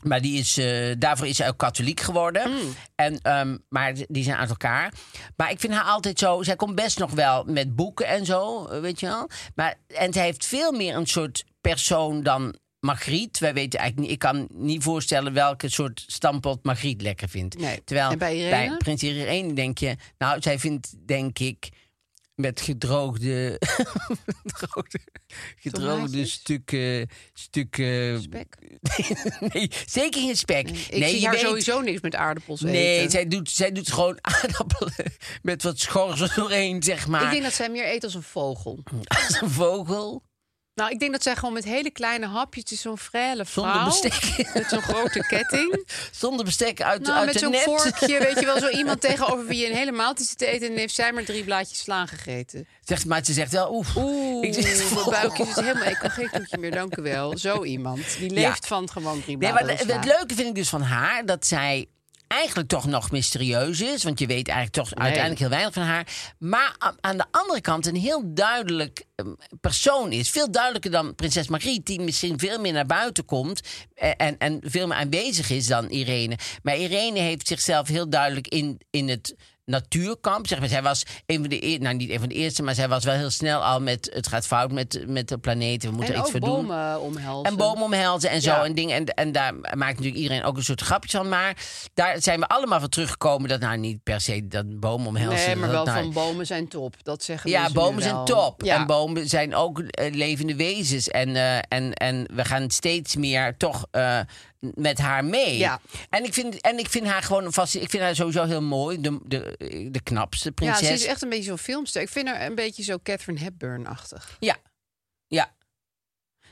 Speaker 3: Maar die is, eh, daarvoor is zij ook katholiek geworden.
Speaker 2: Hmm.
Speaker 3: En, ehm, maar die zijn uit elkaar. Maar ik vind haar altijd zo... Zij komt best nog wel met boeken en zo, eh, weet je wel. Maar, en zij heeft veel meer een soort persoon dan Margriet. Wij weten eigenlijk niet... Ik kan niet voorstellen welke soort stampot Margriet lekker vindt.
Speaker 2: Nee.
Speaker 3: Terwijl
Speaker 2: En bij Irene?
Speaker 3: Prins Irene denk je... Nou, zij vindt, denk ik... Met gedroogde, gedroogde, gedroogde
Speaker 2: Tomaatjes?
Speaker 3: stukken, stukken
Speaker 2: Spek.
Speaker 3: nee, zeker geen spek.
Speaker 2: Ik
Speaker 3: nee,
Speaker 2: zie
Speaker 3: je
Speaker 2: haar
Speaker 3: weet-
Speaker 2: sowieso niks met aardappels
Speaker 3: Nee,
Speaker 2: eten.
Speaker 3: zij doet, zij doet gewoon aardappelen met wat schors doorheen, zeg maar.
Speaker 2: Ik denk dat zij meer eet als een vogel.
Speaker 3: Als een vogel,
Speaker 2: Nou, ik denk dat zij gewoon met hele kleine hapjes, het is zo'n frele
Speaker 3: Zonder
Speaker 2: vrouw.
Speaker 3: bestek.
Speaker 2: Met zo'n grote ketting.
Speaker 3: zonder bestek uit,
Speaker 2: Nou,
Speaker 3: uit
Speaker 2: met
Speaker 3: de
Speaker 2: zo'n
Speaker 3: net.
Speaker 2: vorkje, weet je wel, zo iemand tegenover wie je een hele maaltijd zit te eten... en heeft zij maar drie blaadjes sla gegeten.
Speaker 3: Zegt, maar ze zegt wel, oef.
Speaker 2: Oeh,
Speaker 3: Ik zit-
Speaker 2: mijn buikje is helemaal... Ik kan geen toetje meer, dank u wel. Zo iemand, die
Speaker 3: Ja.
Speaker 2: leeft van gewoon drie
Speaker 3: Nee,
Speaker 2: blaadjes
Speaker 3: maar het het leuke vind ik dus van haar dat zij eigenlijk toch nog mysterieus is. Want je weet eigenlijk toch uiteindelijk heel weinig van haar. Maar a- aan de andere kant een heel duidelijk ehm, persoon is. Veel duidelijker dan prinses Margriet, die misschien veel meer naar buiten komt. eh, En, en veel meer aanwezig is dan Irene. Maar Irene heeft zichzelf heel duidelijk in, in het natuurkamp. Zeg maar, zij was een van de eer- nou niet een van de eerste, maar zij was wel heel snel al met het gaat fout met, met de planeet. We moeten
Speaker 2: En
Speaker 3: er iets
Speaker 2: ook
Speaker 3: voor doen.
Speaker 2: bomen omhelzen.
Speaker 3: En bomen omhelzen en zo
Speaker 2: Ja.
Speaker 3: en dingen. En, en daar maakt natuurlijk iedereen ook een soort grapje van. Maar daar zijn we allemaal van teruggekomen. Dat nou niet per se dat bomen omhelzen.
Speaker 2: Nee, maar
Speaker 3: dat
Speaker 2: wel
Speaker 3: nou-
Speaker 2: van bomen zijn top. Dat zeggen
Speaker 3: ja,
Speaker 2: mensen nu
Speaker 3: bomen zijn
Speaker 2: wel.
Speaker 3: top.
Speaker 2: Ja.
Speaker 3: En bomen zijn ook eh, levende wezens. En, eh, en, en we gaan steeds meer toch eh, met haar mee.
Speaker 2: Ja.
Speaker 3: En, ik vind, en ik vind haar gewoon vast. Ik vind haar sowieso heel mooi. De, de, de knapste
Speaker 2: Ja,
Speaker 3: prinses.
Speaker 2: ze is echt een beetje zo'n filmster. Ik vind haar een beetje zo Catherine Hepburn-achtig.
Speaker 3: ja. ja.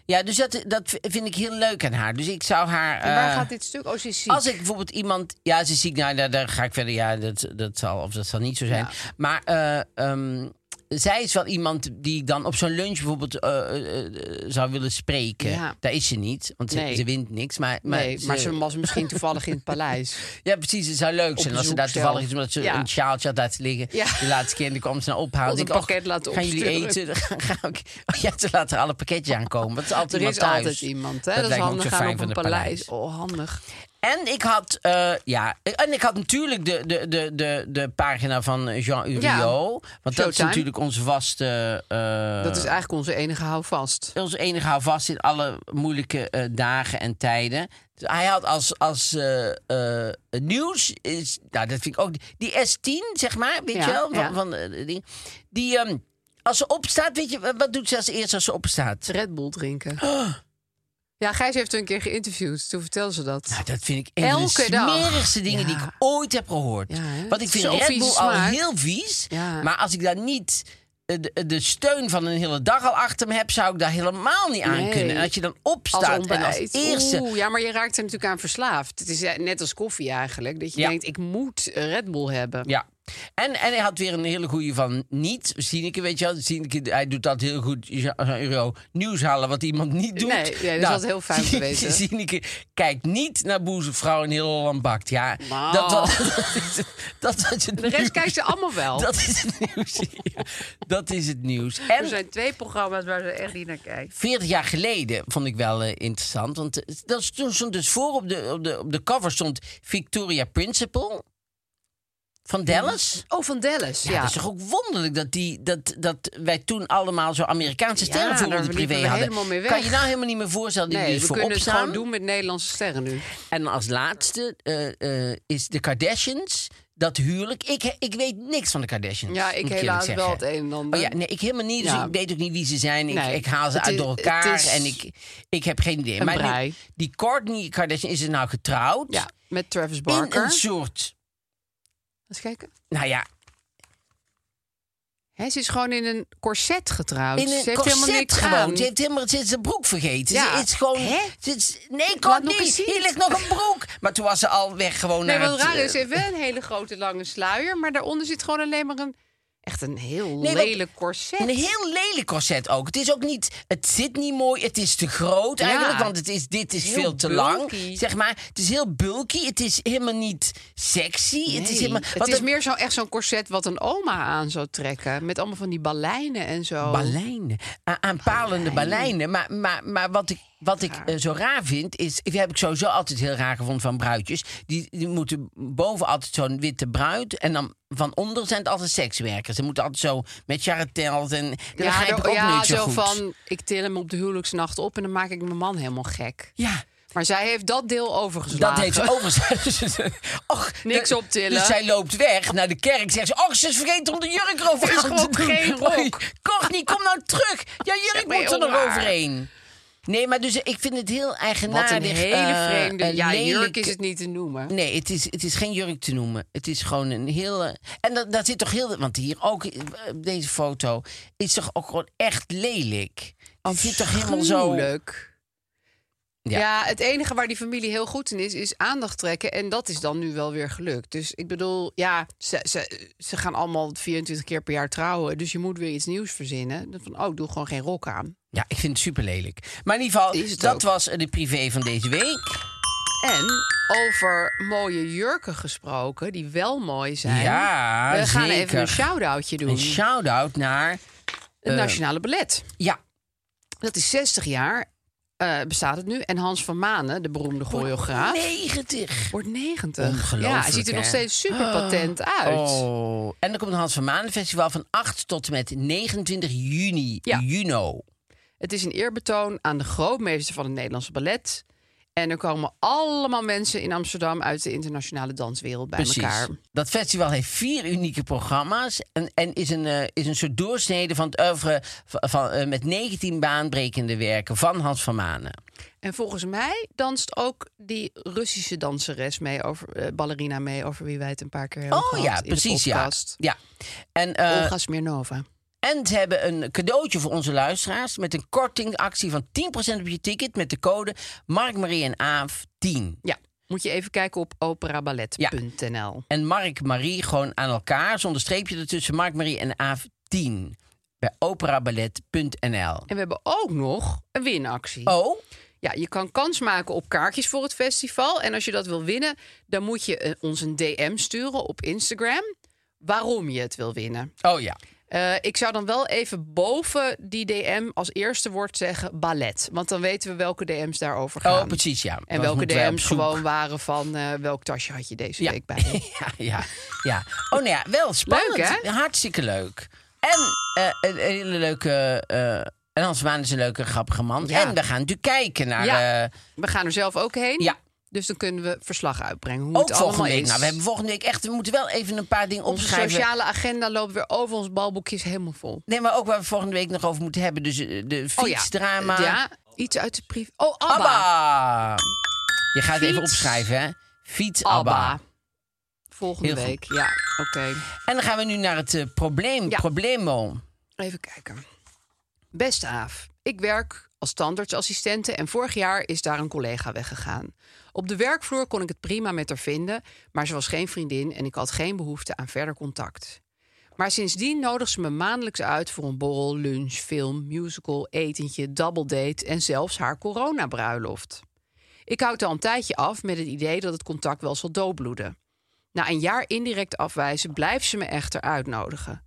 Speaker 3: Ja, dus dat, dat vind ik heel leuk aan haar. Dus ik zou haar.
Speaker 2: En waar
Speaker 3: eh,
Speaker 2: gaat dit stuk? Oh, ze is ziek.
Speaker 3: Als ik bijvoorbeeld iemand. Ja, ze is ziek. Nou, daar, daar ga ik verder. Ja, dat, dat zal of dat zal niet zo zijn.
Speaker 2: Ja.
Speaker 3: Maar eh, ehm, zij is wel iemand die ik dan op zo'n lunch bijvoorbeeld eh, eh, eh, zou willen spreken.
Speaker 2: Ja.
Speaker 3: Daar is ze niet, want ze,
Speaker 2: Nee.
Speaker 3: ze wint niks. Maar, maar,
Speaker 2: nee, maar ze was misschien toevallig in het paleis.
Speaker 3: Ja, precies. Het zou leuk zijn als ze
Speaker 2: bezoek
Speaker 3: daar toevallig
Speaker 2: zelf.
Speaker 3: is, omdat ze
Speaker 2: Ja.
Speaker 3: een sjaaltje had laten liggen.
Speaker 2: Ja.
Speaker 3: De laatste keer en die kwam ze nou ophalen.
Speaker 2: Ons
Speaker 3: Ik
Speaker 2: een
Speaker 3: dacht,
Speaker 2: pakket laten
Speaker 3: Gaan jullie
Speaker 2: opsturen.
Speaker 3: eten? Gaan- gaan we- oh ja, ze laten alle pakketjes aankomen. Want het is altijd
Speaker 2: Er
Speaker 3: iemand
Speaker 2: is
Speaker 3: thuis.
Speaker 2: altijd iemand. Hè? Dat, is
Speaker 3: lijkt me ook
Speaker 2: handig
Speaker 3: zo
Speaker 2: gaan
Speaker 3: fijn
Speaker 2: op
Speaker 3: van
Speaker 2: een
Speaker 3: het
Speaker 2: paleis. Oh, handig.
Speaker 3: En ik had, eh, ja, en ik had natuurlijk de, de, de, de, de pagina van Jean Uriot.
Speaker 2: Ja.
Speaker 3: Want dat is
Speaker 2: Showtime.
Speaker 3: natuurlijk onze vaste... eh,
Speaker 2: Dat is eigenlijk onze enige houvast.
Speaker 3: ons enige houvast in alle moeilijke eh, dagen en tijden. Dus hij had als, als eh, eh, nieuws, is, nou dat vind ik ook, die S10 zeg maar, weet
Speaker 2: Ja,
Speaker 3: je wel, van,
Speaker 2: ja.
Speaker 3: van, eh, die, die ehm, als ze opstaat, weet je, wa- wat doet ze als eerste als ze opstaat?
Speaker 2: Red Bull drinken.
Speaker 3: Nou,
Speaker 2: Ja, Gijs heeft haar een keer geïnterviewd. Toen vertelde ze dat.
Speaker 3: Nou, dat vind ik een
Speaker 2: Elke
Speaker 3: van de
Speaker 2: dag.
Speaker 3: smerigste dingen die ik
Speaker 2: Ja.
Speaker 3: ooit heb gehoord.
Speaker 2: Ja, hè?
Speaker 3: Want ik vind
Speaker 2: Zo'n
Speaker 3: Red
Speaker 2: vieze
Speaker 3: Bull al
Speaker 2: smaak.
Speaker 3: heel vies,
Speaker 2: Ja.
Speaker 3: maar als ik daar niet eh, de, de steun van een hele dag al achter me heb, zou ik daar helemaal niet aan
Speaker 2: Nee.
Speaker 3: kunnen. En dat je dan opstaat
Speaker 2: als
Speaker 3: en als
Speaker 2: ontbijt.
Speaker 3: eerste...
Speaker 2: Oeh, ja, maar je raakt er natuurlijk aan verslaafd. Het is eh, net als koffie eigenlijk. Dat je
Speaker 3: Ja.
Speaker 2: denkt, ik moet eh, Red Bull hebben.
Speaker 3: Ja. En, en hij had weer een hele goede van niet. Sineke, weet je wel. Sineke, hij doet dat heel goed. Ja, Euro nieuws halen wat iemand niet doet.
Speaker 2: Nee, nee, dat is altijd heel fijn om te weten.
Speaker 3: Sineke kijkt niet naar boezemvrouw en heel Holland bakt. Ja,
Speaker 2: Nou.
Speaker 3: dat, was, dat, is, dat was het
Speaker 2: De rest
Speaker 3: nieuws.
Speaker 2: kijkt ze allemaal wel.
Speaker 3: Dat is het nieuws. Ja, dat is het nieuws.
Speaker 2: Er
Speaker 3: En
Speaker 2: zijn twee programma's waar ze echt niet naar kijkt.
Speaker 3: 40 jaar geleden vond ik wel eh, interessant. Want eh, dat is- toen stond dus voor op de, op, de, op de cover stond Victoria Principal van Dallas.
Speaker 2: Oh, van Dallas. Ja,
Speaker 3: Ja, dat is toch ook wonderlijk dat, die, dat, dat wij toen allemaal zo Amerikaanse
Speaker 2: Ja,
Speaker 3: sterren voor
Speaker 2: daar
Speaker 3: onze
Speaker 2: liepen
Speaker 3: privé
Speaker 2: we
Speaker 3: hadden.
Speaker 2: helemaal mee weg.
Speaker 3: Kan je nou helemaal niet meer voorstellen die
Speaker 2: Nee,
Speaker 3: dus
Speaker 2: we
Speaker 3: voor
Speaker 2: kunnen het
Speaker 3: opstaan.
Speaker 2: gewoon doen met Nederlandse sterren nu.
Speaker 3: En als laatste eh, eh, is de Kardashians. Dat huwelijk. Ik, ik weet niks van de Kardashians.
Speaker 2: Ja, ik
Speaker 3: moet eerlijk
Speaker 2: helaas
Speaker 3: zeggen.
Speaker 2: wel het een en ander.
Speaker 3: Oh ja, nee, ik helemaal niet. Dus
Speaker 2: Ja.
Speaker 3: ik weet ook niet wie ze zijn. Ik,
Speaker 2: Nee,
Speaker 3: ik haal ze
Speaker 2: het
Speaker 3: uit
Speaker 2: is-
Speaker 3: door
Speaker 2: het
Speaker 3: elkaar.
Speaker 2: is
Speaker 3: En ik, ik heb geen idee.
Speaker 2: een
Speaker 3: Maar die,
Speaker 2: brei.
Speaker 3: die Kourtney Kardashian is er nou getrouwd.
Speaker 2: Ja, met Travis
Speaker 3: in
Speaker 2: Barker.
Speaker 3: een
Speaker 2: Eens
Speaker 3: soort.
Speaker 2: kijken.
Speaker 3: Nou ja,
Speaker 2: Hij is dus gewoon in een corset getrouwd.
Speaker 3: In een
Speaker 2: Oh, ze heeft helemaal
Speaker 3: corset
Speaker 2: niks
Speaker 3: gewoon.
Speaker 2: aan.
Speaker 3: Ze heeft helemaal ze heeft zijn broek vergeten.
Speaker 2: Ja.
Speaker 3: Ze is gewoon...
Speaker 2: Hè?
Speaker 3: Ze is, nee,
Speaker 2: Laat
Speaker 3: kon
Speaker 2: nog
Speaker 3: niet.
Speaker 2: eens zien.
Speaker 3: Hier ligt nog een broek. Maar toen was ze al weg gewoon
Speaker 2: Nee,
Speaker 3: naar
Speaker 2: wat
Speaker 3: het,
Speaker 2: raar is,
Speaker 3: eh,
Speaker 2: ze heeft wel een hele grote lange sluier, maar daaronder zit gewoon alleen maar een echt een heel
Speaker 3: Nee, want-
Speaker 2: lelijk corset.
Speaker 3: Een heel lelijk corset ook. Het is ook niet... Het zit niet mooi. Het is te groot
Speaker 2: Ja.
Speaker 3: eigenlijk. Want het is, dit is
Speaker 2: Heel
Speaker 3: veel te lang.
Speaker 2: bulky.
Speaker 3: Zeg maar, het is heel bulky. Het is helemaal niet sexy. het is,
Speaker 2: Nee,
Speaker 3: helemaal,
Speaker 2: het
Speaker 3: want
Speaker 2: is meer zo, echt zo'n corset wat een oma aan zou trekken. Met allemaal van die balijnen en zo.
Speaker 3: Balijnen. Oh. A- aanpalende balijnen. Maar, maar, maar wat ik, wat ik eh, zo raar vind, is... Ik heb ik sowieso altijd heel raar gevonden van bruidjes. Die, die moeten boven altijd zo'n witte bruid. En dan van onder zijn het altijd sekswerkers. Ze moeten altijd zo met charretels. En dat begrijp ik
Speaker 2: zo-
Speaker 3: ook
Speaker 2: ja,
Speaker 3: niet zo,
Speaker 2: zo
Speaker 3: goed.
Speaker 2: van, ik til hem op de huwelijksnacht op en dan maak ik mijn man helemaal gek.
Speaker 3: Ja,
Speaker 2: Maar zij heeft dat deel overgeslagen.
Speaker 3: dat heeft ze overigens. Och,
Speaker 2: Niks
Speaker 3: de-
Speaker 2: optillen.
Speaker 3: Dus zij loopt weg naar de kerk. Zegt ze: Och, ze is vergeten om de jurk erover
Speaker 2: Is
Speaker 3: aan
Speaker 2: gewoon
Speaker 3: te doen.
Speaker 2: geen
Speaker 3: Oei,
Speaker 2: rok.
Speaker 3: Courtney, kom nou terug. Ja, jurk
Speaker 2: maar
Speaker 3: moet er
Speaker 2: heel
Speaker 3: nog
Speaker 2: raar.
Speaker 3: overheen. Nee, maar dus ik vind het heel eigenaardig.
Speaker 2: Wat een hele
Speaker 3: eh,
Speaker 2: vreemde...
Speaker 3: een
Speaker 2: ja, jurk
Speaker 3: lelijke-
Speaker 2: is het niet te noemen.
Speaker 3: Nee, het is, het is geen jurk te noemen. Het is gewoon een heel. eh, En dat, dat zit toch heel. Want hier ook, eh, op deze foto, is toch ook gewoon echt lelijk. Het zit toch helemaal zo.
Speaker 2: Gruwelijk.
Speaker 3: Ja.
Speaker 2: Ja. het enige waar die familie heel goed in is, is aandacht trekken. En dat is dan nu wel weer gelukt. Dus ik bedoel, ja, ze, ze, ze gaan allemaal 24 keer per jaar trouwen. Dus je moet weer iets nieuws verzinnen. Dan Van, oh, doe gewoon geen rok aan.
Speaker 3: Ja, ik vind het super lelijk. Maar in ieder
Speaker 2: Is
Speaker 3: geval,
Speaker 2: het
Speaker 3: dat
Speaker 2: ook.
Speaker 3: was eh, de privé van deze week.
Speaker 2: En over mooie jurken gesproken, die wel mooi zijn.
Speaker 3: Ja,
Speaker 2: We gaan
Speaker 3: zeker.
Speaker 2: even een shout-outje doen.
Speaker 3: Een shout-out naar.
Speaker 2: het Nationale Ballet.
Speaker 3: Ja,
Speaker 2: Dat is 60 jaar, eh, bestaat het nu. En Hans van Manen, de beroemde choreograaf...
Speaker 3: 90.
Speaker 2: Wordt 90.
Speaker 3: Ongelooflijk,
Speaker 2: Ja, hij ziet er
Speaker 3: hè?
Speaker 2: nog steeds super patent uit.
Speaker 3: Oh. En dan komt het Hans van Maan Festival van 8 tot en met 29 juni.
Speaker 2: Ja.
Speaker 3: Juno.
Speaker 2: Het is een eerbetoon aan de grootmeester van het Nederlandse ballet. En er komen allemaal mensen in Amsterdam uit de internationale danswereld bij elkaar.
Speaker 3: Dat festival heeft vier unieke programma's en, en is, een, eh, is een soort doorsnede van het oeuvre van, van, eh, met 19 baanbrekende werken van Hans van Manen.
Speaker 2: En volgens mij danst ook die Russische danseres mee, over, eh, ballerina mee, over wie wij het een paar keer hebben
Speaker 3: Oh
Speaker 2: gehad
Speaker 3: ja,
Speaker 2: in
Speaker 3: precies.
Speaker 2: de
Speaker 3: Ja.
Speaker 2: podcast.
Speaker 3: Ja. En, eh,
Speaker 2: Olga Smirnova.
Speaker 3: en ze hebben een cadeautje voor onze luisteraars met een kortingactie van 10% op je ticket met de code Mark, Marie en Aaf 10.
Speaker 2: Ja, moet je even kijken op operaballet.nl.
Speaker 3: En Mark Marie gewoon aan elkaar, zonder streepje ertussen, Mark Marie en Aaf 10 bij operaballet.nl.
Speaker 2: En we hebben ook nog een winactie.
Speaker 3: Oh,
Speaker 2: Ja, je kan kans maken op kaartjes voor het festival. En als je dat wil winnen, dan moet je eh, ons een DM sturen op Instagram. Waarom je het wil winnen.
Speaker 3: oh ja.
Speaker 2: Eh, ik zou dan wel even boven die DM als eerste woord zeggen ballet. Want dan weten we welke DM's daarover gaan.
Speaker 3: Oh, precies, ja.
Speaker 2: En
Speaker 3: Want
Speaker 2: welke
Speaker 3: moeten wij op
Speaker 2: DM's
Speaker 3: zoek.
Speaker 2: gewoon waren van eh, welk tasje had je deze
Speaker 3: Ja.
Speaker 2: week bij je.
Speaker 3: Ja, ja, ja. Oh, nou ja, wel spannend.
Speaker 2: Leuk, hè?
Speaker 3: Hartstikke leuk. En eh, een hele leuke... eh, en Hans Maan is een leuke, grappige man.
Speaker 2: Ja.
Speaker 3: En we gaan natuurlijk kijken naar...
Speaker 2: Ja.
Speaker 3: eh,
Speaker 2: We gaan er zelf ook heen.
Speaker 3: Ja.
Speaker 2: Dus dan kunnen we verslag uitbrengen hoe
Speaker 3: ook
Speaker 2: het allemaal
Speaker 3: volgende week.
Speaker 2: is.
Speaker 3: Nou, we hebben volgende week echt... We moeten wel even een paar dingen
Speaker 2: Onze
Speaker 3: opschrijven.
Speaker 2: sociale agenda loopt weer over. Ons balboekje is helemaal vol.
Speaker 3: Nee, maar ook waar we volgende week nog over moeten hebben. Dus eh, de fietsdrama.
Speaker 2: Oh ja. ja, iets uit de brief. Oh, Abba.
Speaker 3: Abba. Je gaat het even
Speaker 2: Fiets.
Speaker 3: opschrijven, hè? Fiets
Speaker 2: Abba.
Speaker 3: Abba.
Speaker 2: Volgende
Speaker 3: Heel goed.
Speaker 2: week. Ja, oké.
Speaker 3: En dan gaan we nu naar het eh, probleem.
Speaker 2: Ja.
Speaker 3: Problemo.
Speaker 2: Even kijken. Beste Aaf, ik werk als tandartsassistente en vorig jaar is daar een collega weggegaan. Op de werkvloer kon ik het prima met haar vinden, maar ze was geen vriendin en ik had geen behoefte aan verder contact. Maar sindsdien nodigt ze me maandelijks uit voor een borrel, lunch, film, musical, etentje, double date en zelfs haar coronabruiloft. Ik houd al een tijdje af met het idee dat het contact wel zal doodbloeden. Na een jaar indirect afwijzen blijft ze me echter uitnodigen.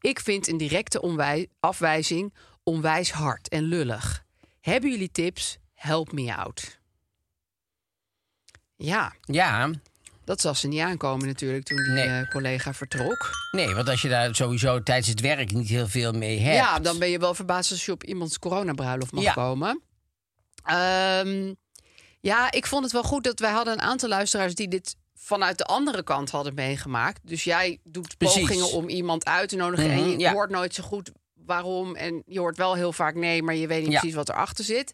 Speaker 2: Ik vind een directe onwij- afwijzing onwijs hard en lullig. Hebben jullie tips? Help me out. Ja,
Speaker 3: Ja.
Speaker 2: dat zag ze niet aankomen natuurlijk toen die
Speaker 3: Nee.
Speaker 2: eh, collega vertrok.
Speaker 3: Nee, want als je daar sowieso tijdens het werk niet heel veel mee hebt.
Speaker 2: Ja, dan ben je wel verbaasd als je op iemands coronabruiloft mag
Speaker 3: Ja.
Speaker 2: komen. Ehm, ja, ik vond het wel goed dat wij hadden een aantal luisteraars die dit vanuit de andere kant hadden meegemaakt. Dus jij doet
Speaker 3: Precies.
Speaker 2: pogingen om iemand uit te nodigen en
Speaker 3: Mhm,
Speaker 2: je
Speaker 3: ja.
Speaker 2: hoort nooit zo goed waarom en je hoort wel heel vaak nee, maar je weet niet
Speaker 3: Ja.
Speaker 2: precies wat erachter zit.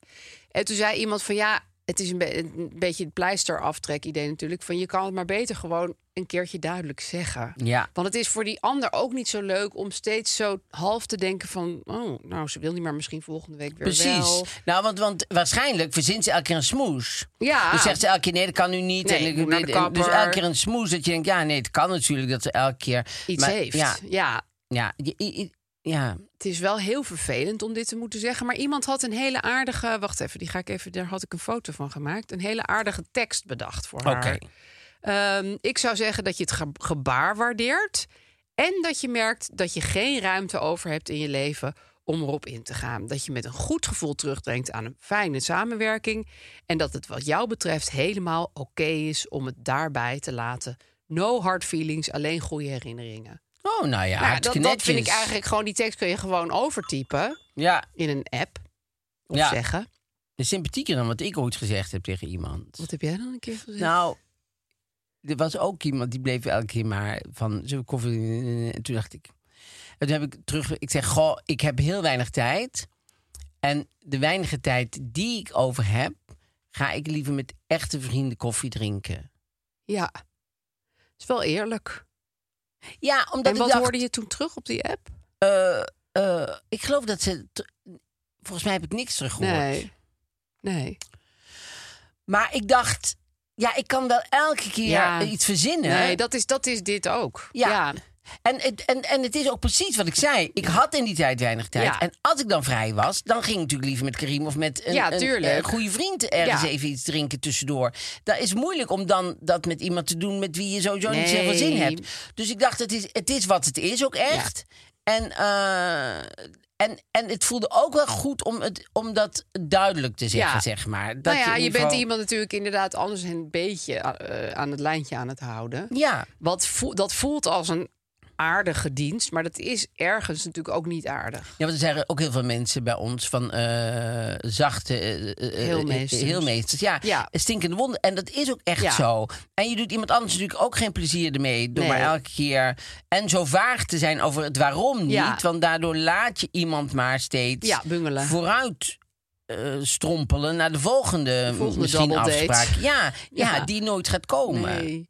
Speaker 2: En toen zei iemand van ja, het is een, be- een beetje het pleisteraftrek idee natuurlijk van je kan het maar beter gewoon een keertje duidelijk zeggen.
Speaker 3: Ja.
Speaker 2: Want het is voor die ander ook niet zo leuk om steeds zo half te denken van... oh, nou, ze wil niet, maar misschien volgende week weer
Speaker 3: Precies.
Speaker 2: wel.
Speaker 3: Nou, want, want waarschijnlijk verzint ze elke keer een smoes.
Speaker 2: Ja.
Speaker 3: Dus zegt ze elke keer, nee, dat kan nu niet.
Speaker 2: Nee,
Speaker 3: En
Speaker 2: ik
Speaker 3: ik-
Speaker 2: moet naar de
Speaker 3: en- dus
Speaker 2: kapper.
Speaker 3: elke keer een smoes. Dat je denkt, ja, nee, het kan natuurlijk dat ze elke keer...
Speaker 2: Iets
Speaker 3: maar-
Speaker 2: heeft.
Speaker 3: Ja,
Speaker 2: Ja.
Speaker 3: ja, je- i- i- ja.
Speaker 2: het is wel heel vervelend om dit te moeten zeggen. Maar iemand had een hele aardige... Wacht even, die ga ik even... Daar had ik een foto van gemaakt. Een hele aardige tekst bedacht voor haar.
Speaker 3: oké.
Speaker 2: Ehm, ik zou zeggen dat je het ge- gebaar waardeert. En dat je merkt dat je geen ruimte over hebt in je leven om erop in te gaan. Dat je met een goed gevoel terugdenkt aan een fijne samenwerking. En dat het wat jou betreft helemaal oké is om het daarbij te laten. No hard feelings, alleen goede herinneringen.
Speaker 3: Oh, nou ja,
Speaker 2: Nou, dat,
Speaker 3: hartstikke
Speaker 2: dat vind ik
Speaker 3: netjes.
Speaker 2: eigenlijk gewoon, die tekst kun je gewoon overtypen
Speaker 3: Ja,
Speaker 2: in een app. Of
Speaker 3: Ja.
Speaker 2: zeggen.
Speaker 3: dat is sympathieker dan wat ik ooit gezegd heb tegen iemand.
Speaker 2: Wat heb jij dan een keer gezegd?
Speaker 3: Nou, er was ook iemand die bleef elke keer maar van zo koffie. En toen dacht ik. En toen heb ik terug. Ik zeg, goh, ik heb heel weinig tijd. En de weinige tijd die ik over heb, ga ik liever met echte vrienden koffie drinken.
Speaker 2: Ja, is wel eerlijk.
Speaker 3: Ja, omdat
Speaker 2: en
Speaker 3: ik
Speaker 2: wat
Speaker 3: dacht,
Speaker 2: hoorde je toen terug op die app?
Speaker 3: eh, eh, ik geloof dat ze. t- Volgens mij heb ik niks teruggehoord.
Speaker 2: Nee. Nee.
Speaker 3: Maar ik dacht, ja, ik kan wel elke keer
Speaker 2: Ja.
Speaker 3: iets verzinnen.
Speaker 2: Nee, dat is, dat is dit ook.
Speaker 3: Ja. En het, en, en het is ook precies wat ik zei. Ik had in die tijd weinig tijd.
Speaker 2: Ja.
Speaker 3: En als ik dan vrij was, dan ging ik natuurlijk liever met Karim of met een,
Speaker 2: Ja,
Speaker 3: een, eh,
Speaker 2: tuurlijk.
Speaker 3: goede vriend ergens
Speaker 2: Ja.
Speaker 3: even iets drinken tussendoor. Dat is moeilijk om dan dat met iemand te doen met wie je sowieso niet zoveel
Speaker 2: Nee.
Speaker 3: zin hebt. Dus ik dacht, het is, het is wat het is ook echt. En, eh, en, en het voelde ook wel goed om, het, om dat duidelijk te zeggen,
Speaker 2: Ja.
Speaker 3: zeg maar. Dat
Speaker 2: nou ja,
Speaker 3: in
Speaker 2: je
Speaker 3: ieder
Speaker 2: bent
Speaker 3: geval-
Speaker 2: iemand natuurlijk inderdaad anders een beetje eh, aan het lijntje aan het houden.
Speaker 3: Ja,
Speaker 2: Wat voel- dat voelt als een aardige dienst, maar dat is ergens natuurlijk ook niet aardig.
Speaker 3: Ja, want er zijn ook heel veel mensen bij ons van eh, zachte eh, eh,
Speaker 2: Heelmeesters.
Speaker 3: eh, heelmeesters. Ja,
Speaker 2: Ja.
Speaker 3: stinkende wonden. En dat is ook echt
Speaker 2: Ja.
Speaker 3: zo. En je doet iemand anders natuurlijk ook geen plezier ermee. Door
Speaker 2: Nee.
Speaker 3: maar elke keer. En zo vaag te zijn over het waarom
Speaker 2: Ja.
Speaker 3: niet. Want daardoor laat je iemand maar steeds
Speaker 2: Ja, bungelen.
Speaker 3: vooruit. eh, strompelen naar de volgende,
Speaker 2: volgende
Speaker 3: misschien
Speaker 2: double date.
Speaker 3: afspraak. Ja, ja,
Speaker 2: Ja.
Speaker 3: die nooit gaat komen.
Speaker 2: Nee.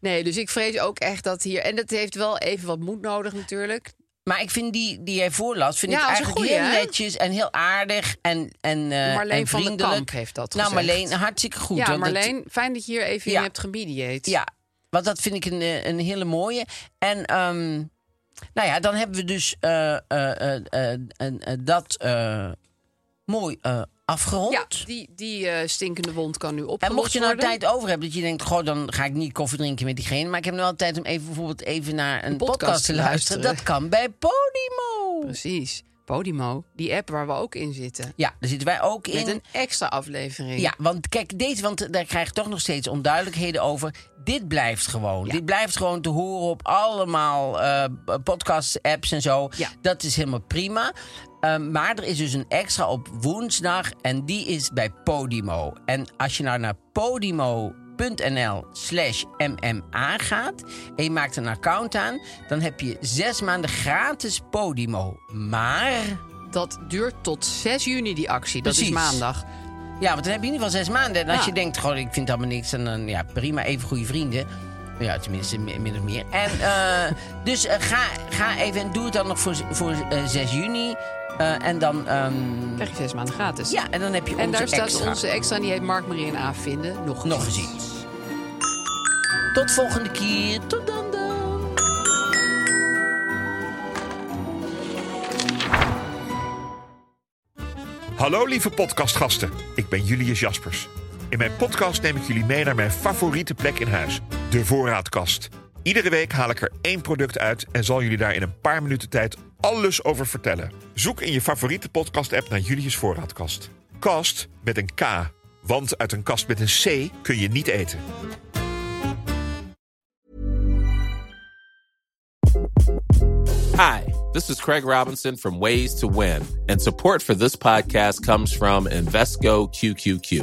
Speaker 2: Nee, dus ik vrees ook echt dat hier. En dat heeft wel even wat moed nodig, natuurlijk.
Speaker 3: Maar ik vind die die jij voorlas, vind
Speaker 2: Ja,
Speaker 3: ik
Speaker 2: dat is een
Speaker 3: eigenlijk
Speaker 2: goeie,
Speaker 3: heel
Speaker 2: hè?
Speaker 3: netjes en heel aardig en, en, eh,
Speaker 2: Marleen
Speaker 3: en
Speaker 2: van den
Speaker 3: vriendelijk.
Speaker 2: Kamp heeft dat
Speaker 3: Nou,
Speaker 2: gezegd.
Speaker 3: Marleen, hartstikke goed.
Speaker 2: ja,
Speaker 3: want dat-
Speaker 2: Marleen, fijn dat je hier even
Speaker 3: Ja.
Speaker 2: in hebt gemediate.
Speaker 3: ja, want dat vind ik een, eh, een hele mooie. En ehm, Nou ja, dan hebben we dus eh, eh, eh, eh, eh, eh, dat eh, mooi eh, afgerond.
Speaker 2: Ja, die, die eh, stinkende wond kan nu opgelost
Speaker 3: En mocht je nou
Speaker 2: worden.
Speaker 3: tijd over hebben dat je denkt, goh, dan ga ik niet koffie drinken met diegene. Maar ik heb nou wel tijd om even bijvoorbeeld even naar een podcast,
Speaker 2: podcast
Speaker 3: te
Speaker 2: te
Speaker 3: luisteren.
Speaker 2: luisteren.
Speaker 3: Dat kan bij Podimo.
Speaker 2: Precies. Podimo, die app waar we ook in zitten.
Speaker 3: Ja, daar zitten wij ook
Speaker 2: Met
Speaker 3: in.
Speaker 2: een extra aflevering.
Speaker 3: Ja, want kijk, deze, want daar krijg ik toch nog steeds onduidelijkheden over. Dit blijft gewoon. Dit blijft gewoon te horen op allemaal eh, podcast, apps en zo.
Speaker 2: Ja.
Speaker 3: Dat is helemaal prima. Eh, maar er is dus een extra op woensdag en die is bij Podimo. En als je nou naar podimo.nl slash mma gaat en je maakt een account aan, dan heb je zes maanden gratis Podimo. Maar...
Speaker 2: Dat duurt tot 6 juni, die actie. Dat
Speaker 3: Precies.
Speaker 2: is maandag.
Speaker 3: Ja, want dan heb je in ieder geval zes maanden. En als
Speaker 2: Ja.
Speaker 3: je denkt, goh, ik vind allemaal niks, en dan ja, prima, even goede vrienden. Ja, tenminste, mi- min of meer. En, eh, dus eh, ga, ga even en doe het dan nog voor, z- voor eh, 6 juni. Eh, en dan, ehm,
Speaker 2: Krijg je 6 maanden gratis.
Speaker 3: ja, en dan heb je
Speaker 2: En
Speaker 3: onze
Speaker 2: daar staat
Speaker 3: extra.
Speaker 2: onze extra, en die heet Mark Marie en A vinden. Nog eens.
Speaker 3: Nog eens iets. Tot volgende keer. Tot dan dan.
Speaker 4: Hallo lieve podcastgasten, ik ben Julius Jaspers. In mijn podcast neem ik jullie mee naar mijn favoriete plek in huis, de voorraadkast. Iedere week haal ik er één product uit en zal jullie daar in een paar minuten tijd alles over vertellen. Zoek in je favoriete podcast-app naar Julius Voorraadkast. Kast met een K, want uit een kast met een C kun je niet eten.
Speaker 5: Hi, this is Craig Robinson from Ways to Win, and support for this podcast comes from Invesco QQQ.